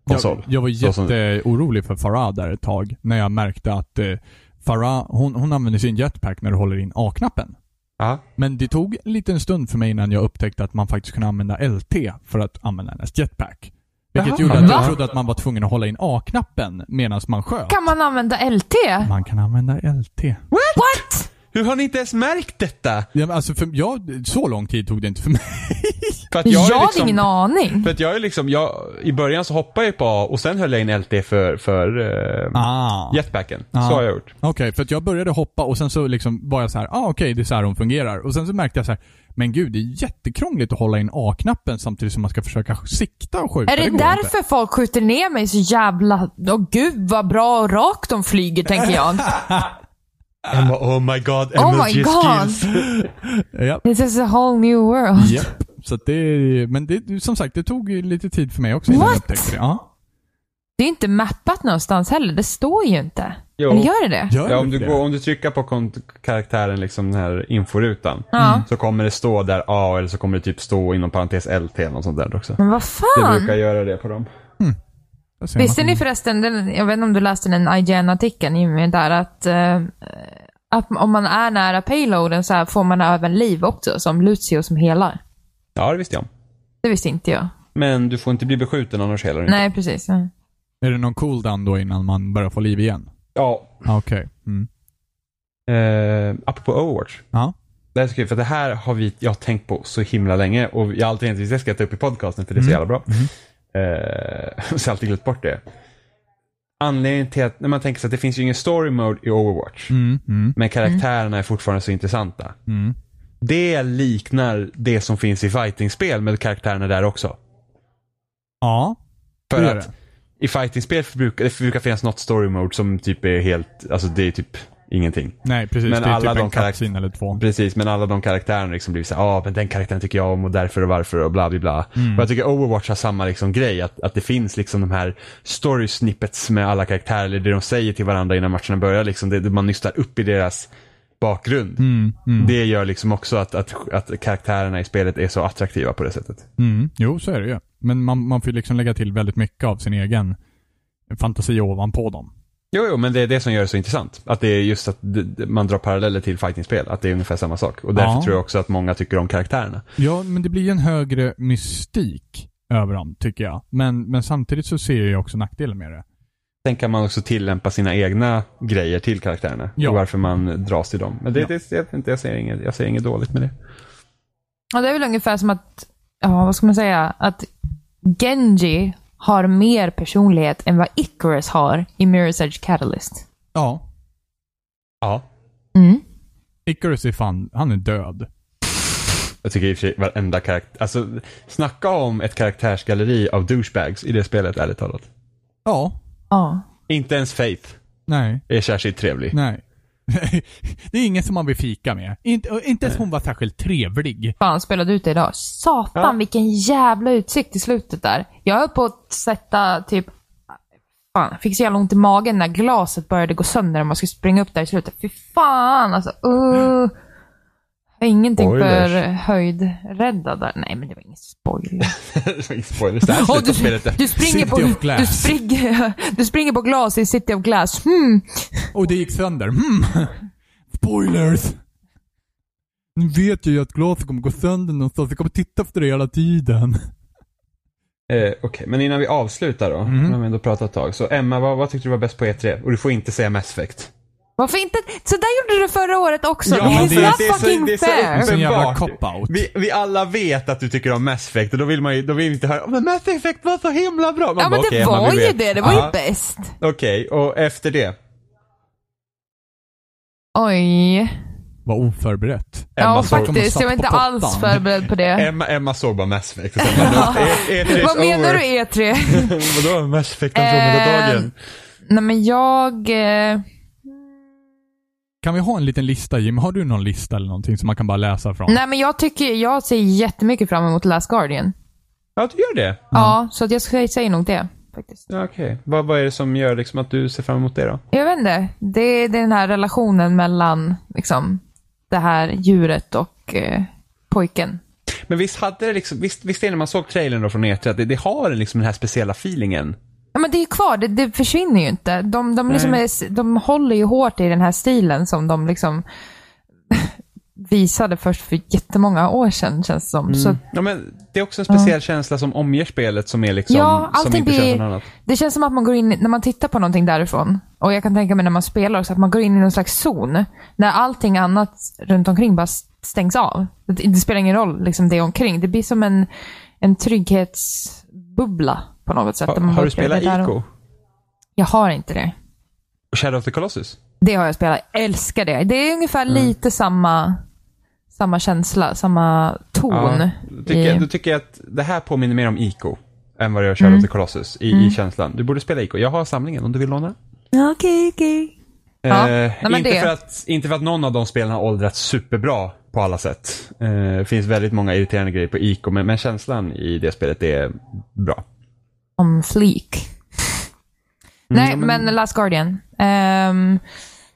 konsol.
Jag, jag var
Så som-
jätteorolig för Farah där ett tag. När jag märkte att eh, Farah, hon, hon använder sin jetpack när du håller in A-knappen.
Ja.
Men det tog en liten stund för mig innan jag upptäckte att man faktiskt kunde använda LT för att använda hennes jetpack. Vilket
Jaha.
gjorde att jag
Va?
trodde att man var tvungen att hålla in A-knappen medan man sköt.
Kan man använda LT?
Man kan använda LT.
What?
Hur har ni inte ens märkt detta?
Ja, men alltså för jag, så lång tid tog det inte för mig.
För att
Jag,
jag, är
hade
liksom,
ingen aning.
För att jag är liksom, jag, i början så hoppade jag på A och sen höll jag in LT för, för eh,
Ah.
jetpacken.
Ah.
Så har jag gjort.
Okej, för att jag började hoppa och sen så liksom var jag så här, ah, okej det är så här hon fungerar. Och sen så märkte jag så här, men gud det är jättekrångligt att hålla in A-knappen samtidigt som man ska försöka sikta och skjuta.
Är det
går
därför folk skjuter ner mig så jävla... Åh gud vad bra och rakt de flyger tänker jag.
Jag bara, oh my god,
Oh my
MLG
god.
skills.
Inte. Ja,
This is a whole new world.
japp. Så att det, men det, som sagt, det tog ju lite tid för mig också innan jag
What?
upptäckte det. Ja.
Det är inte mappat någonstans heller. Det står ju inte.
Jo.
Eller gör det det?
Gör
Ja, om
det
du, går, om du trycker på kont- karaktären, liksom den här inforutan,
Ja. Mm.
så kommer det stå där A eller så kommer det typ stå inom parentes LT eller något sånt där också.
Men vad
Det
fan?
brukar göra det på dem.
Där ser man.
Visste ni förresten, den, jag vet inte om du läste den IGN-artikeln Jimmy, där att, eh, att om man är nära payloaden så här får man även liv också, som Lucio som helar.
Ja, det visste jag.
Det visste inte jag.
Men du får inte bli beskjuten annars heller.
Nej, precis. Ja.
Är det någon cooldown då innan man börjar få liv igen?
Ja,
Ah, Okej. Mm.
eh, apropå Overwatch.
Ja.
Det här är så kul, för det här har vi, jag har tänkt på så himla länge och jag har alltid tänkt att det ska jag ta upp i podcasten för det är så
Mm.
jävla bra. Eh, så jag har alltid glömt bort det. Anledningen till att, när man tänker sig att det finns ju ingen story mode i Overwatch,
Mm, mm,
men karaktärerna är fortfarande så intressanta.
mm.
Det liknar det som finns i fightingspel med karaktärerna där också.
Ja,
För
det gör
att
det.
i fightingspel brukar det brukar finnas något story mode som typ är helt, alltså det är typ ingenting.
Nej, precis.
Men
det är
alla
typ
de
en
karaktär-
cutscene eller två.
Precis, men alla de karaktärerna liksom blir så ja ah, men den karaktären tycker jag om och därför och varför och bla bla bla. Och jag tycker Overwatch har samma liksom grej, att, att det finns liksom de här story snippets med alla karaktärer, eller det de säger till varandra innan matcherna börjar, liksom det, det man nystar upp i deras bakgrund. Det gör liksom också att, att, att karaktärerna i spelet är så attraktiva på det sättet.
Mm. Jo, så är det ju. Men man, man får ju liksom lägga till väldigt mycket av sin egen fantasi ovanpå dem.
Jo, jo, men det är det som gör det så intressant. Att det är just att d- d- man drar paralleller till fightingspel, att det är ungefär samma sak. Och därför
Ja.
tror jag också att många tycker om karaktärerna.
Ja, men det blir ju en högre mystik över dem, tycker jag. Men, men samtidigt så ser jag ju också nackdelen med det.
Sen kan man också tillämpa sina egna grejer till karaktärerna.
Ja.
Och varför man dras till dem. Men det,
Ja.
det, jag, vet inte, jag, ser inget, jag ser inget dåligt med det.
Ja, det är väl ungefär som att, ja vad ska man säga, att Genji har mer personlighet än vad Icarus har i Mirror's Edge Catalyst.
Ja.
Ja.
Mm.
Icarus är fan, han är död.
Jag tycker i och för sig varenda karaktär, alltså snacka om ett karaktärsgalleri av douchebags i det spelet, ärligt talat.
Ja.
Ja.
Inte ens Faith
Nej.
är särskilt trevlig.
Nej. det är ingen som man vill fika med. Inte, och inte ens hon var särskilt trevlig.
Fan, spelade ut det idag. Satan vilken jävla utsikt i slutet där. Jag höll på att sätta typ... Fan, jag fick så jävla ont i magen när glaset började gå sönder och man skulle springa upp där i slutet. Fy fan alltså. Uh. Jag är ingenting
Spoilers.
för höjdrädda där. Nej, men det var ingen spoiler.
Spoilers, det här
Åh,
slutet av spelet är
du, springer
City
på,
of Glass.
du, springer, du springer på glas i City of Glass. Hmm.
Och det gick sönder. Mm. Spoilers! Nu vet jag ju att glaset kommer gå sönder någonstans. Jag kommer titta efter det hela tiden.
Eh, Okej, men innan vi avslutar då. Nu har vi ändå pratat ett tag. Så Emma, vad, vad tyckte du var bäst på E3? Och du får inte säga Mass Effect.
Varför inte? Så där gjorde du förra året också.
men
det,
det-
är
det
så fucking fair.
Det är så jävla
uppenbart.
cop-out.
Vi, vi alla vet att du tycker om Mass Effect och då vill man ju, då vill vi inte höra men Mass Effect var så himla bra. Man
Ja, men
bara, okej,
det
Emma,
var
vi
ju
vet.
det. Det var
Ja,
ju bäst.
Okej, och efter det?
Oj.
Var oförberett.
Emma
Ja,
såg-
man
faktiskt.
satt
Jag var
på
inte
pottan.
alls förberedd på det.
Emma, Emma såg bara Mass Effect. Och sen bara, E- E3 is
Vad menar
over.
du E3?
Vadå Mass Effect
Eh,
Andromeda-dagen?
Nej, men jag... eh,
Kan vi ha en liten lista Jim? Har du någon lista eller någonting som man kan bara läsa från?
Nej, men jag tycker... Jag ser jättemycket fram emot Last Guardian.
Mm.
Ja, du gör det?
Ja, så att jag ska- säger nog det. Faktiskt.
Ja, Okej, vad, vad är det som gör liksom att du ser fram emot det då?
Jag vet inte. Det, det är den här relationen mellan liksom, det här djuret och eh, pojken.
E Men visst hade det liksom, visst, visst är det när man såg trailern då från E3 att det, det har liksom den här speciella feelingen
Ja, men det är ju kvar, det, det försvinner ju inte. De, de, liksom är, de håller ju hårt i den här stilen som de liksom visade först för jättemånga år sedan känns det som. Så,
Ja, men det är också en speciell känsla som omger spelet som är liksom,
ja,
som
allting
inte känns som något
blir,
annat.
det känns som att man går in, i- när man tittar på någonting därifrån, och jag kan tänka mig när man spelar också, att man går in i någon slags zon. När allting annat runt omkring bara stängs av. Det, det spelar ingen roll liksom, det omkring. Det blir som en, en trygghetsbubbla på något sätt.
Har,
där man
har
bara
du
spelar
spelat
det där och-
Ico?
Jag har inte det.
Och Shadow of the Colossus?
Det har jag spelat. Jag älskar det. Det är ungefär
Mm.
lite samma, samma känsla, samma ton.
Ja, då tycker, jag, då
i,
tycker jag att det här påminner mer om Ico än vad det gör Shadow
Mm.
of the Colossus i, i känslan. Du borde spela Ico. Jag har samlingen om du vill låna.
Okej, okej. Ja,
Eh,
nej, men
inte,
det-
för att, inte för att någon av de spelen har åldrats superbra på alla sätt. Eh, Det finns väldigt många irriterande grejer på Ico, men, men känslan i det spelet är bra.
Om fleek.
Mm,
Nej, men... Last Guardian. Ehm,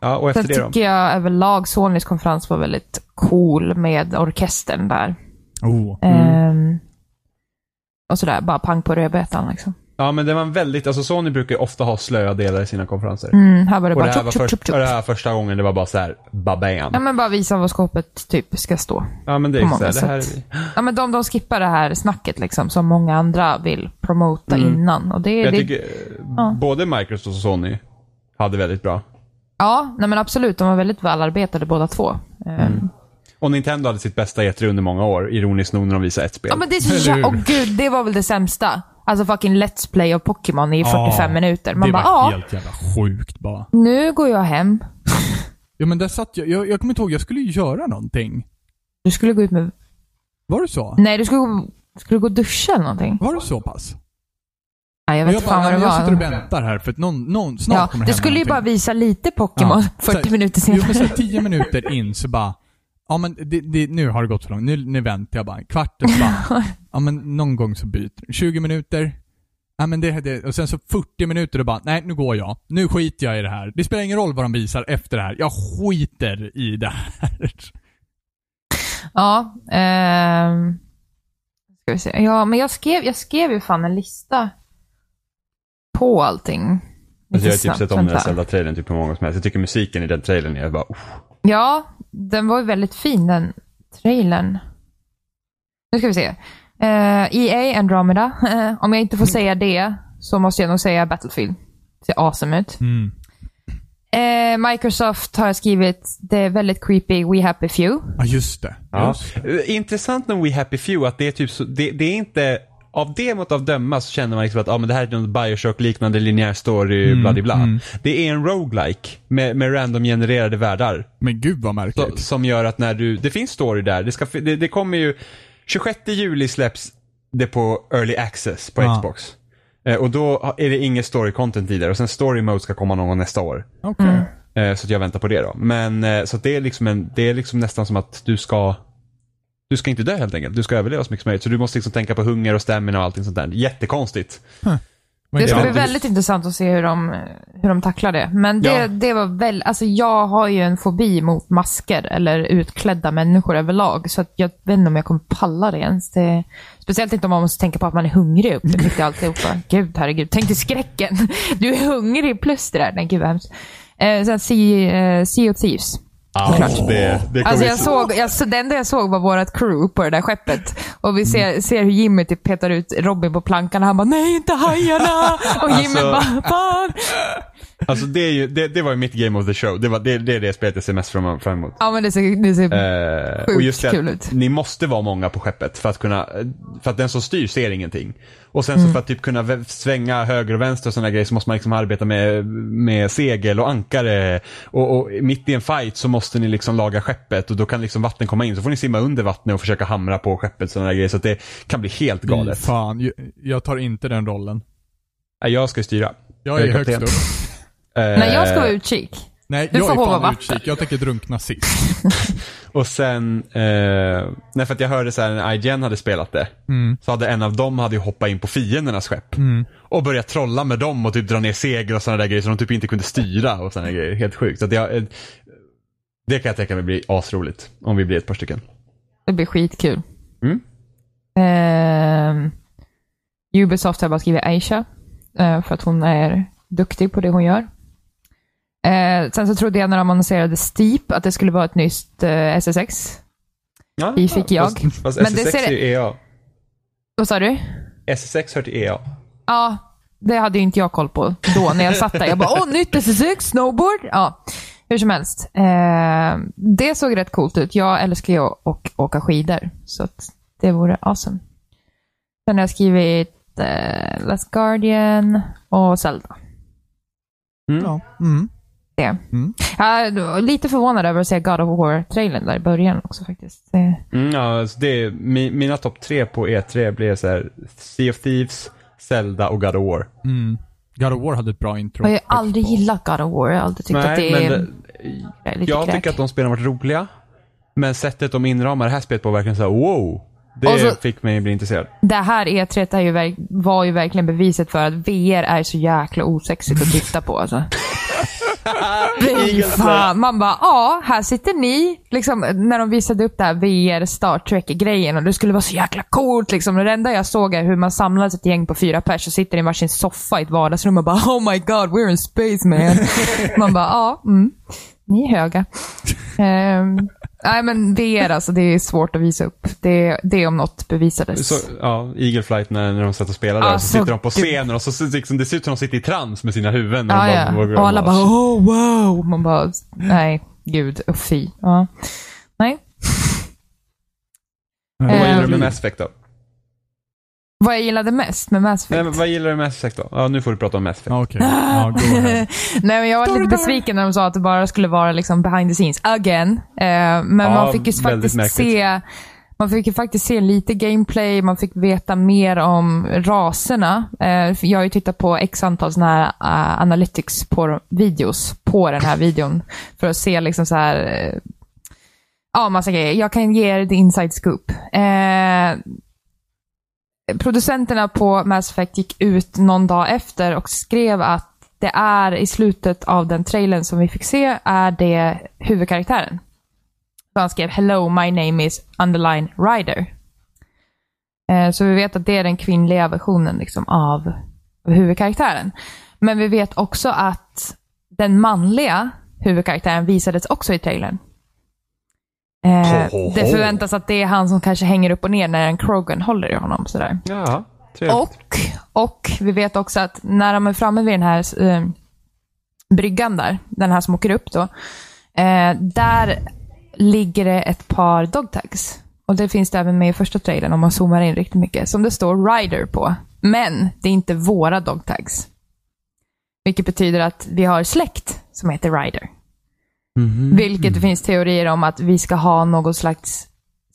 Ja, och efter
sen
det då?
tycker jag överlag Sonys konferens var väldigt cool med orkestern där.
Oh.
Mm.
Ehm, och sådär, bara pang på rödbetan liksom.
Ja, men det var en väldigt, alltså Sony brukar ju ofta ha slöa delar i sina konferenser.
Mm, här var det
Och
bara
det, här var
tjopp,
först,
tjopp, tjopp,
och det
tjopp.
här första gången det var bara så här, babam.
Ja, men bara visa vad skåpet typ ska stå.
Ja, men det är
på
ju så här,
många
det här
sätt. Ja, men de, de skippar det här snacket liksom, som många andra vill promota innan. Och det,
Jag
det,
tycker eh, både Microsoft och Sony hade väldigt bra.
Ja, nej men absolut. De var väldigt välarbetade båda två. Ehm,
Och Nintendo hade sitt bästa E3 under många år, ironiskt nog när de visade ett spel.
Ja, men det är så jä- Åh gud, det var väl det sämsta. Alltså fucking Let's Play av Pokémon i 45 minuter. Man
det
bara,
var
ja,
helt jävla sjukt bara.
nu går jag hem.
Ja men där satt jag, jag, jag kommer inte ihåg, jag skulle ju göra någonting.
Du skulle gå ut med...
Var det så?
Nej, du skulle, gå- skulle gå och duscha eller någonting.
Var det så pass?
Nej, jag vet
Jag,
inte
bara,
fan vad det
jag, jag sitter och
var.
väntar här för att någon, någon snart
Ja,
kommer
du
hända
skulle ju
någonting.
bara visa lite Pokémon
Ja.
40
Så-
minuter
Jo, men
senare.
så här, tio minuter in så bara, ja men det, det, nu har det gått för långt. Nu, nu väntar jag bara en kvart och så bara, ja men någon gång så byter 20 minuter, ja men det, det, och sen så 40 minuter och bara, nej nu går jag. Nu skiter jag i det här. Det spelar ingen roll vad de visar efter det här. Jag skiter i det här.
Ja, ehm, ska vi se. Ja, men jag skrev, jag skrev ju fan en lista på allting.
Alltså, jag har typ sett
Lite snabbt,
om den här
vänta.
Zelda-trailern typ hur många gånger som helst. Jag tycker musiken i den trailern är bara, uff.
Ja, den var ju väldigt fin den trailern. Nu ska vi se. Eh, EA Andromeda. Eh, om jag inte får
Mm.
säga det så måste jag nog säga Battlefield. Ser awesome ut.
Mm.
Eh, Microsoft har jag skrivit, det är väldigt creepy, We Happy Few.
Ja just det.
Ja.
Just.
Eh, Intressant med We Happy Few att det är typ så, det, det är inte, av det mot av döma så känner man liksom att ah, men det här är något Bioshock-liknande linjär story, bla bla bla. Det är en roguelike med, med random-genererade världar.
Men gud vad
Så,
märkligt.
som gör att när du, det finns story där, det, ska, fi- det, det kommer ju, 26 juli släpps det på early access på
Ja.
Xbox. Eh, och då ha- är det inget story content i det och sen story mode ska komma någon gång nästa år.
Okej.
Mm.
Eh, så att jag väntar på det då. Men eh, så att det är liksom en, det är liksom nästan som att du ska, du ska inte dö helt enkelt. Du ska överleva så mycket som möjligt. Så du måste liksom tänka på hunger och stamina och allting sånt där. Jättekonstigt.
Men
Det ska
ja.
bli väldigt intressant att se hur de, hur de tacklar det. Men det,
Ja.
det var väl, alltså jag har ju en fobi mot masker eller utklädda människor överlag. Så att jag vet inte om jag kommer palla det ens. Det, speciellt inte om man måste tänka på att man är hungrig upp till mitt i alltihopa. Gud, herregud. Tänk dig skräcken. Du är hungrig plus det där. Nej, gud vad hemskt. Eh, sen sea, eh, sea of Thieves.
det, det
Alltså jag såg, jag, så- det enda jag såg var vårt crew på det där skeppet. Och vi
Mm.
ser, ser hur Jimmy typ petar ut Robin på plankan och han bara “Nej, inte hajarna!” Och Jimmy
Alltså-
bara “Fan!”
Alltså det, är ju, det, det var ju mitt game of the show. Det, var, det, det är det spelet jag ser mest fram fram emot.
Ja, men det ser, det ser
Eh,
Sjukt
och just det,
kul
att
ut.
ni måste vara många på skeppet för att kunna, eh, för att den som styr ser ingenting. Och sen
Mm.
så för att typ kunna vä- svänga höger och vänster och sådana grejer så måste man liksom arbeta med, med segel och ankare. Och, och mitt i en fight så måste ni liksom laga skeppet och då kan liksom vatten komma in. Så får ni simma under vattnet och försöka hamra på skeppet sådana grejer. Så att det kan bli helt
Mm.
Fy
galet.
Fan, jag, jag tar inte den rollen.
Nej, Jag ska ju styra. Eh,
Jag är högst upp.
Nej, jag ska vara utkik.
Nej,
Du
jag
får
är
hålla
fan
vatten.
utkik. Jag tänker drunkna sist.
Och sen, eh, nej för att jag hörde så här när IGN hade spelat det.
Mm.
Så hade en av dem hade ju hoppat in på fiendernas skepp. Och börjat trolla med dem och typ dra ner segel och sådana där grejer som de typ inte kunde styra och sådana grejer. Helt sjukt. Så att jag, eh, det kan jag tänka mig blir asroligt. Om vi blir ett par stycken.
Det blir skitkul.
Mm.
Ehm, Ubisoft har jag bara skrivit Asia. eh, för att hon är duktig på det hon gör. Eh, sen så trodde jag när de annonserade Steep att det skulle vara ett nytt eh, SSX.
Ja,
Vi fick jag.
Fast, fast
Men det
SSX
ser-
är ju E EA.
Vad sa du?
SSX hör till
E
EA.
Ja, det hade ju inte jag koll på då när jag satt där. Jag bara, åh, nytt SSX, snowboard. Ja, hur som helst. Eh, det såg rätt coolt ut. Jag älskar ju att å- åka skidor, så att det vore awesome. Sen har jag skrivit eh, Last Guardian och Zelda.
Ja. Mm.
Det.
Mm.
Jag är lite förvånad över att se God of War-trailern där i början också faktiskt. Det-
Mm, ja, alltså det är, mi, mina topp tre på E3 blir så här, Sea of Thieves, Zelda och God of War.
Mm. God of War hade ett bra intro.
Jag har ju aldrig gillat God of War. Jag har alltid tyckt att det är,
det-
är lite
jag
kräk.
tycker att de spelen har varit roliga. Men sättet de inramar det här spelet på var verkligen så här, wow.
Och
Det
så-
fick mig bli intresserad.
Det här E3 är ju verk- var ju verkligen beviset för att VR är så jäkla osexigt att titta på. Alltså. Fy fan. Man bara, ja, här sitter ni. Liksom, när de visade upp det här VR Star Trek-grejen och det skulle vara så jäkla coolt. Liksom. Och Det enda jag såg är hur man samlas ett gäng på fyra pers och sitter i varsin soffa i ett vardagsrum och bara oh my god, we're in space man. man bara, ja, mm, ni är höga. Ehm, nej men VR alltså, det är svårt att visa upp. Det, det om något bevisades.
Så, ja, Eagle Flight när, när de satt och spelade där,
Alltså,
så sitter de på
gud.
scenen och så, ser- liksom, det ser ut som de sitter i trans med sina huvuden. när
Ja,
de
Ah, ja.
bara-
Och alla bara oh wow. Man bara nej, gud och fy. Ja. Nej.
Mm.
Vad gillar
Ehm.
du med Mass Effect då?
Vad jag gillade mest med Mass
Nej,
Effect?
men vad gillar du med Mass Effect då? Ja, nu får du prata om Mass Effect.
Ja, Okej. Ja, go ahead.
Nej, men jag var lite besviken när de sa att det bara skulle vara liksom behind the scenes again. Eh, men
Ja,
man fick ju
väldigt
faktiskt se man fick ju faktiskt se lite gameplay, man fick veta mer om raserna. Eh, för Jag har ju tittat på x antal såna här eh, analytics på videos på den här videon för att se liksom så här eh, ja, massa grejer. Jag kan ge er the inside scoop. Eh, producenterna på Mass Effect gick ut någon dag efter och skrev att det är i slutet av den trailern som vi fick se är det huvudkaraktären. Så han skrev “Hello, my name is underline Ryder”. Eh, Så vi vet att det är den kvinnliga versionen liksom av, av huvudkaraktären. Men vi vet också att den manliga huvudkaraktären visades också i trailern. Eh,
Ho, ho, ho.
det förväntas att det är han som kanske hänger upp och ner när en Krogan håller i honom. Sådär.
Ja, trevligt.
Och, och vi vet också att när de är framme vid den här eh, bryggan där, den här som åker upp då, eh, där ligger det ett par dogtags. Och det finns det även med i första trailern om man zoomar in riktigt mycket, som det står Rider på. Men det är inte våra dogtags. Vilket betyder att vi har släkt som heter Rider. Vilket det finns teorier om att vi ska ha någon slags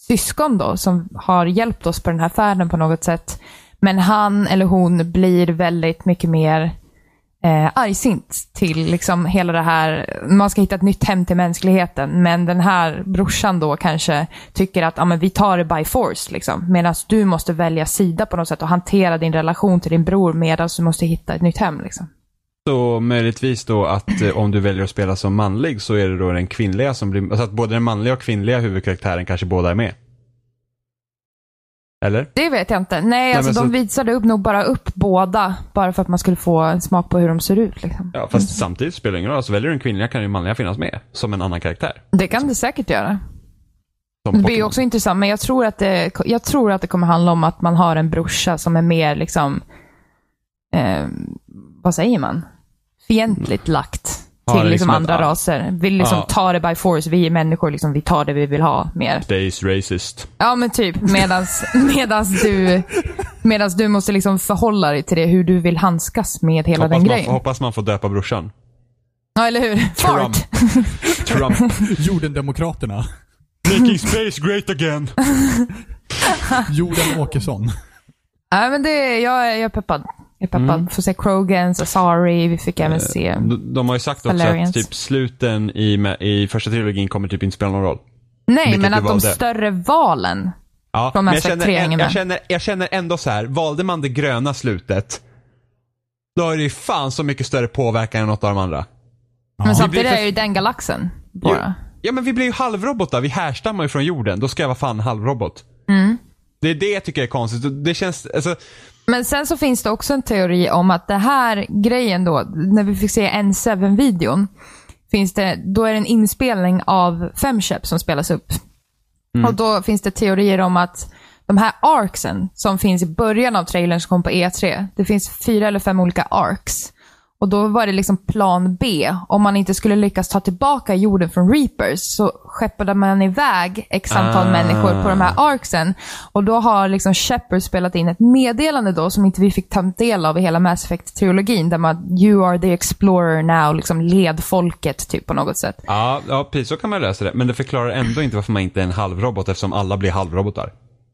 syskon då, som har hjälpt oss på den här färden på något sätt. Men han eller hon blir väldigt mycket mer eh, argsint till liksom hela det här, man ska hitta ett nytt hem till mänskligheten, men den här brorsan då kanske tycker att ja men vi tar det by force, liksom. medan du måste välja sida på något sätt och hantera din relation till din bror medan du måste hitta ett nytt hem. Liksom.
Så möjligtvis då att eh, om du väljer att spela som manlig så är det då den kvinnliga som blir, alltså att både den manliga och kvinnliga huvudkaraktären kanske båda är med. Eller?
Det vet jag inte. Nej, alltså
men
de
så-
visade upp nog bara upp båda, bara för att man skulle få en smak på hur de ser ut. Liksom.
Ja, fast samtidigt spelar det ingen roll. Alltså väljer du den kvinnliga kan ju den manliga finnas med. Som en annan karaktär.
Det kan det säkert göra.
Som
Det blir ju
Pokémon.
också intressant, men jag tror, att det, jag tror att det kommer handla om att man har en brorsa som är mer liksom, eh, vad säger man? Fientligt lagt till
Ja, det är
liksom
liksom
andra
ett-
raser. Vill liksom
Ja.
ta det by force. Vi är människor, liksom, vi tar det vi vill ha mer.
Days racist.
Ja men typ, medans, medans, du, medans du måste liksom förhålla dig till det, hur du vill handskas med hela
Hoppas
den
man,
grejen.
hoppas man får döpa brorsan.
Ja eller hur? Fart!
Trump.
Jordendemokraterna.
Making space great again.
Jorden Åkesson.
Nej men det, jag, är- jag är peppad. Jag är peppad.
Mm.
Får se Krogans, Asari, vi fick
Eh,
även se.
De, de har ju sagt också
Valerians.
att typ sluten i, med- i första trilogin kommer typ inte spela någon roll.
Nej,
Vilket
men
det
att
var
de
det.
större valen.
Ja,
Från
men
Mass
jag känner,
Effect 3 hänger
jag,
med.
jag, känner, jag känner ändå så här, valde man det gröna slutet, då är det ju fan så mycket större påverkan än något av de andra.
Men
Det
samtidigt
blir
är ju den galaxen bara.
Ja men vi blir ju halvrobotar, vi härstammar ju
Mm.
från jorden, då ska jag vara fan halvrobot. Det är det jag tycker är konstigt, det känns, alltså,
Men sen så finns det också en teori om att det här grejen då, när vi fick se N7-videon, finns det, då är det en inspelning av Femshep som spelas upp. Och då finns det teorier om att de här arcsen som finns i början av trailern som kom på E3, det finns fyra eller fem olika arcs. Och då var det liksom plan B. Om man inte skulle lyckas ta tillbaka jorden från Reapers så skeppade man iväg x antal
Ah.
människor på de här arksen. Och då har liksom Shepard spelat in ett meddelande då som inte vi fick ta del av i hela Mass Effect-trilogin. Där man “You are the explorer now”, liksom led folket typ på något sätt.
Ja, ja, precis så kan man lösa det. Men det förklarar ändå inte varför man inte är en halvrobot eftersom alla blir halvrobotar.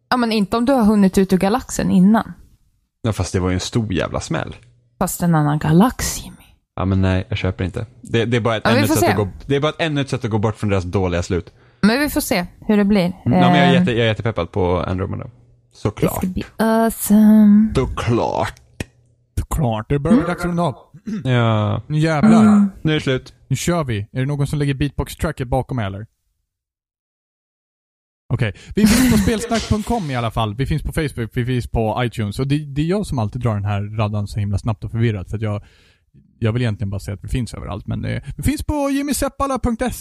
Ja men inte om du har hunnit ut ur galaxen innan.
Ja, fast det var ju en stor jävla smäll.
Fast en annan galax Jimmy.
Ja, men nej, jag köper inte. Det, det, är, bara ett
Ja, vi
ännu ett
får
sätt
se.
att gå, det är bara ett ännu ett sätt att gå bort från deras dåliga slut.
Men vi får se hur det blir.
Mm, Ja, men jag, är
Eh,
jätte, jag är jättepeppad på Andromeda.
det
Såklart.
ska bli awesome.
Såklart.
Klart, det börjar bli dags för final.
Ja,
Nu
Mm.
jävlar.
nu är det slut.
Nu kör vi. Är det någon som lägger beatbox-tracket bakom mig eller? Okej. Vi finns på spelsnack.com i alla fall. Vi finns på Facebook, vi finns på iTunes. Och det, det är jag som alltid drar den här raddan så himla snabbt och förvirrat. För att jag, jag vill egentligen bara säga att vi finns överallt. Men eh, vi finns på jimmyseppala.se.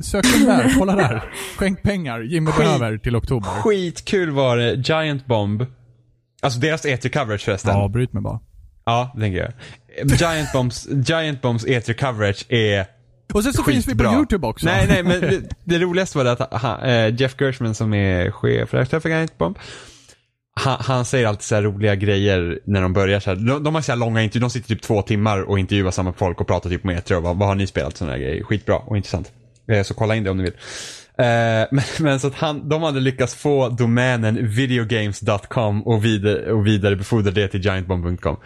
Sök den där, kolla där. Skänk pengar. Jimmy behöver till oktober.
Skitkul var det. Giant Bomb. Alltså deras E3-coverage förresten.
Ja,
Ja,
bryt mig bara.
det tänker jag. Giant Bombs, Giant Bombs E3-coverage är
Och sen så finns vi på
skitbra.
YouTube också.
Nej, nej, men det, det roligaste var det att han, eh, Jeff Gershman som är chefredaktör för Giant Bomb, han, han säger alltid så här roliga grejer när de börjar så här. De, de har så här långa intervjuer, de sitter typ två timmar och intervjuar samma folk och pratar typ om E3 och vad, vad har ni spelat sådana här grejer. Skitbra och intressant. Eh, så kolla in det om ni vill. Eh, men, men så att han, de hade lyckats få domänen videogames.com och, vidare, och vidarebefordra det till giantbomb.com.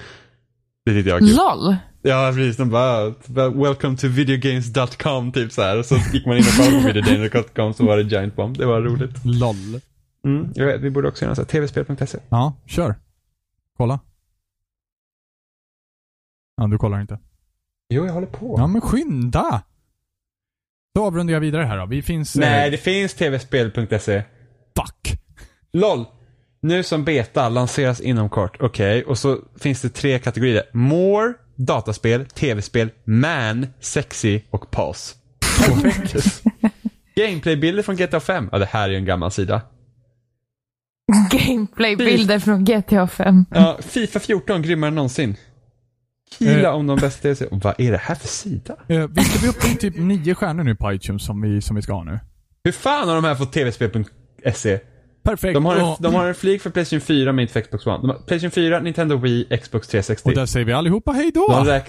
Det tyckte jag var kul.
LOL.
Ja precis, de bara bara, “Welcome to videogames.com” typ så här. Och så gick man in och kollade på videogames.com så var det Giant Bomb. Det var roligt.
LOL.
Mm, jag vet, vi borde också göra så här, tvspel.se.
Ja, kör. Kolla. Ja, du kollar inte.
Jo, jag håller på.
Ja, men skynda! Då avrundar jag vidare här då. Vi finns... eh,
Nej, det finns tvspel.se.
Fuck!
LOL! Nu som beta lanseras inom kort. Okej, och så finns det tre kategorier. More, dataspel, tv-spel, man, sexy och paus. Perfekt. Gameplaybilder från GTA 5. Ja, det här är ju en gammal sida.
Gameplay-bilder från GTA 5.
Ja, Fifa 14 grymmare än någonsin. Kila om de bästa DLC. Och Vad Eh. är det här för sida?
Eh, Visst är vi uppe i typ nio stjärnor nu på iTunes som vi, som vi ska ha nu?
Hur fan har de här fått tvspel.se?
Perfekt!
E? De har, en,
och,
de har en flik för Playstation 4 men inte för Xbox One. De har Playstation 4, Nintendo Wii, Xbox
och
360.
där säger vi allihopa hej
De,
då!
räk,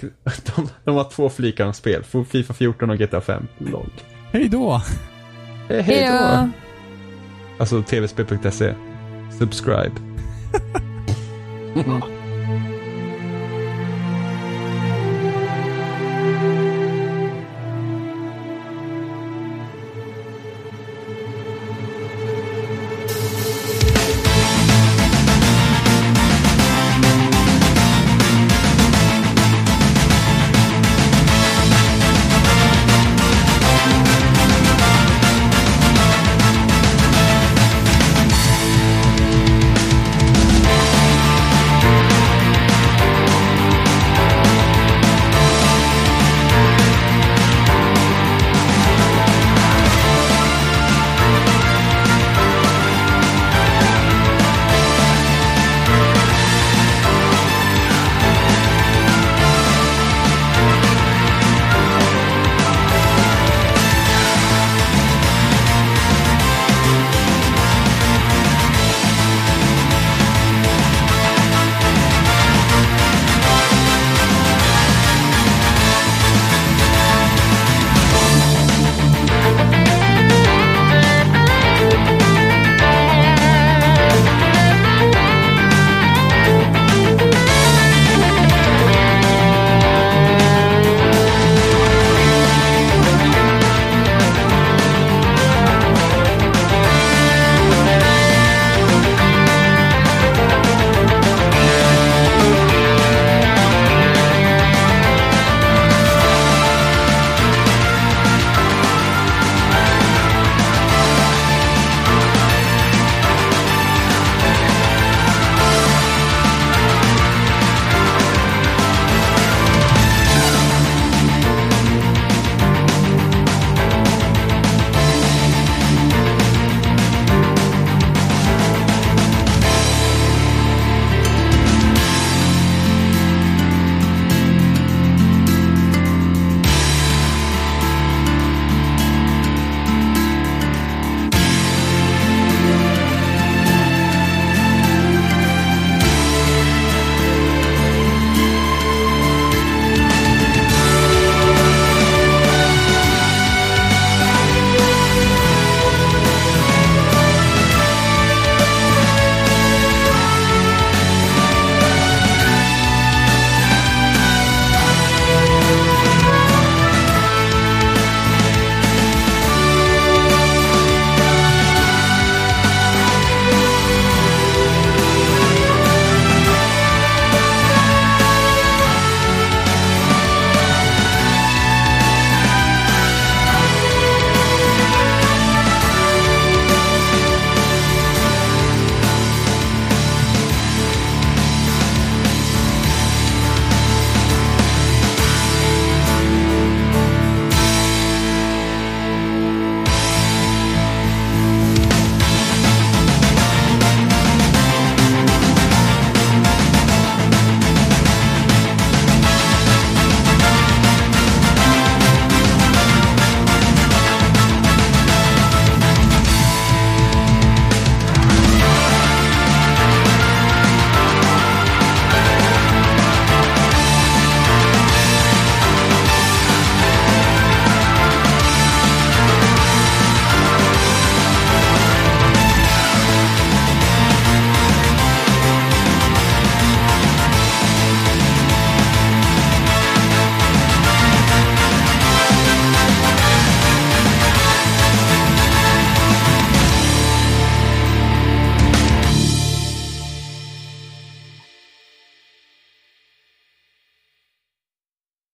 de, de har två flikar om spel. Fifa 14 och GTA 5. LOL.
Hej då!
Hej, hej då!
Hejdå.
E. Alltså tvspel.se. Subscribe.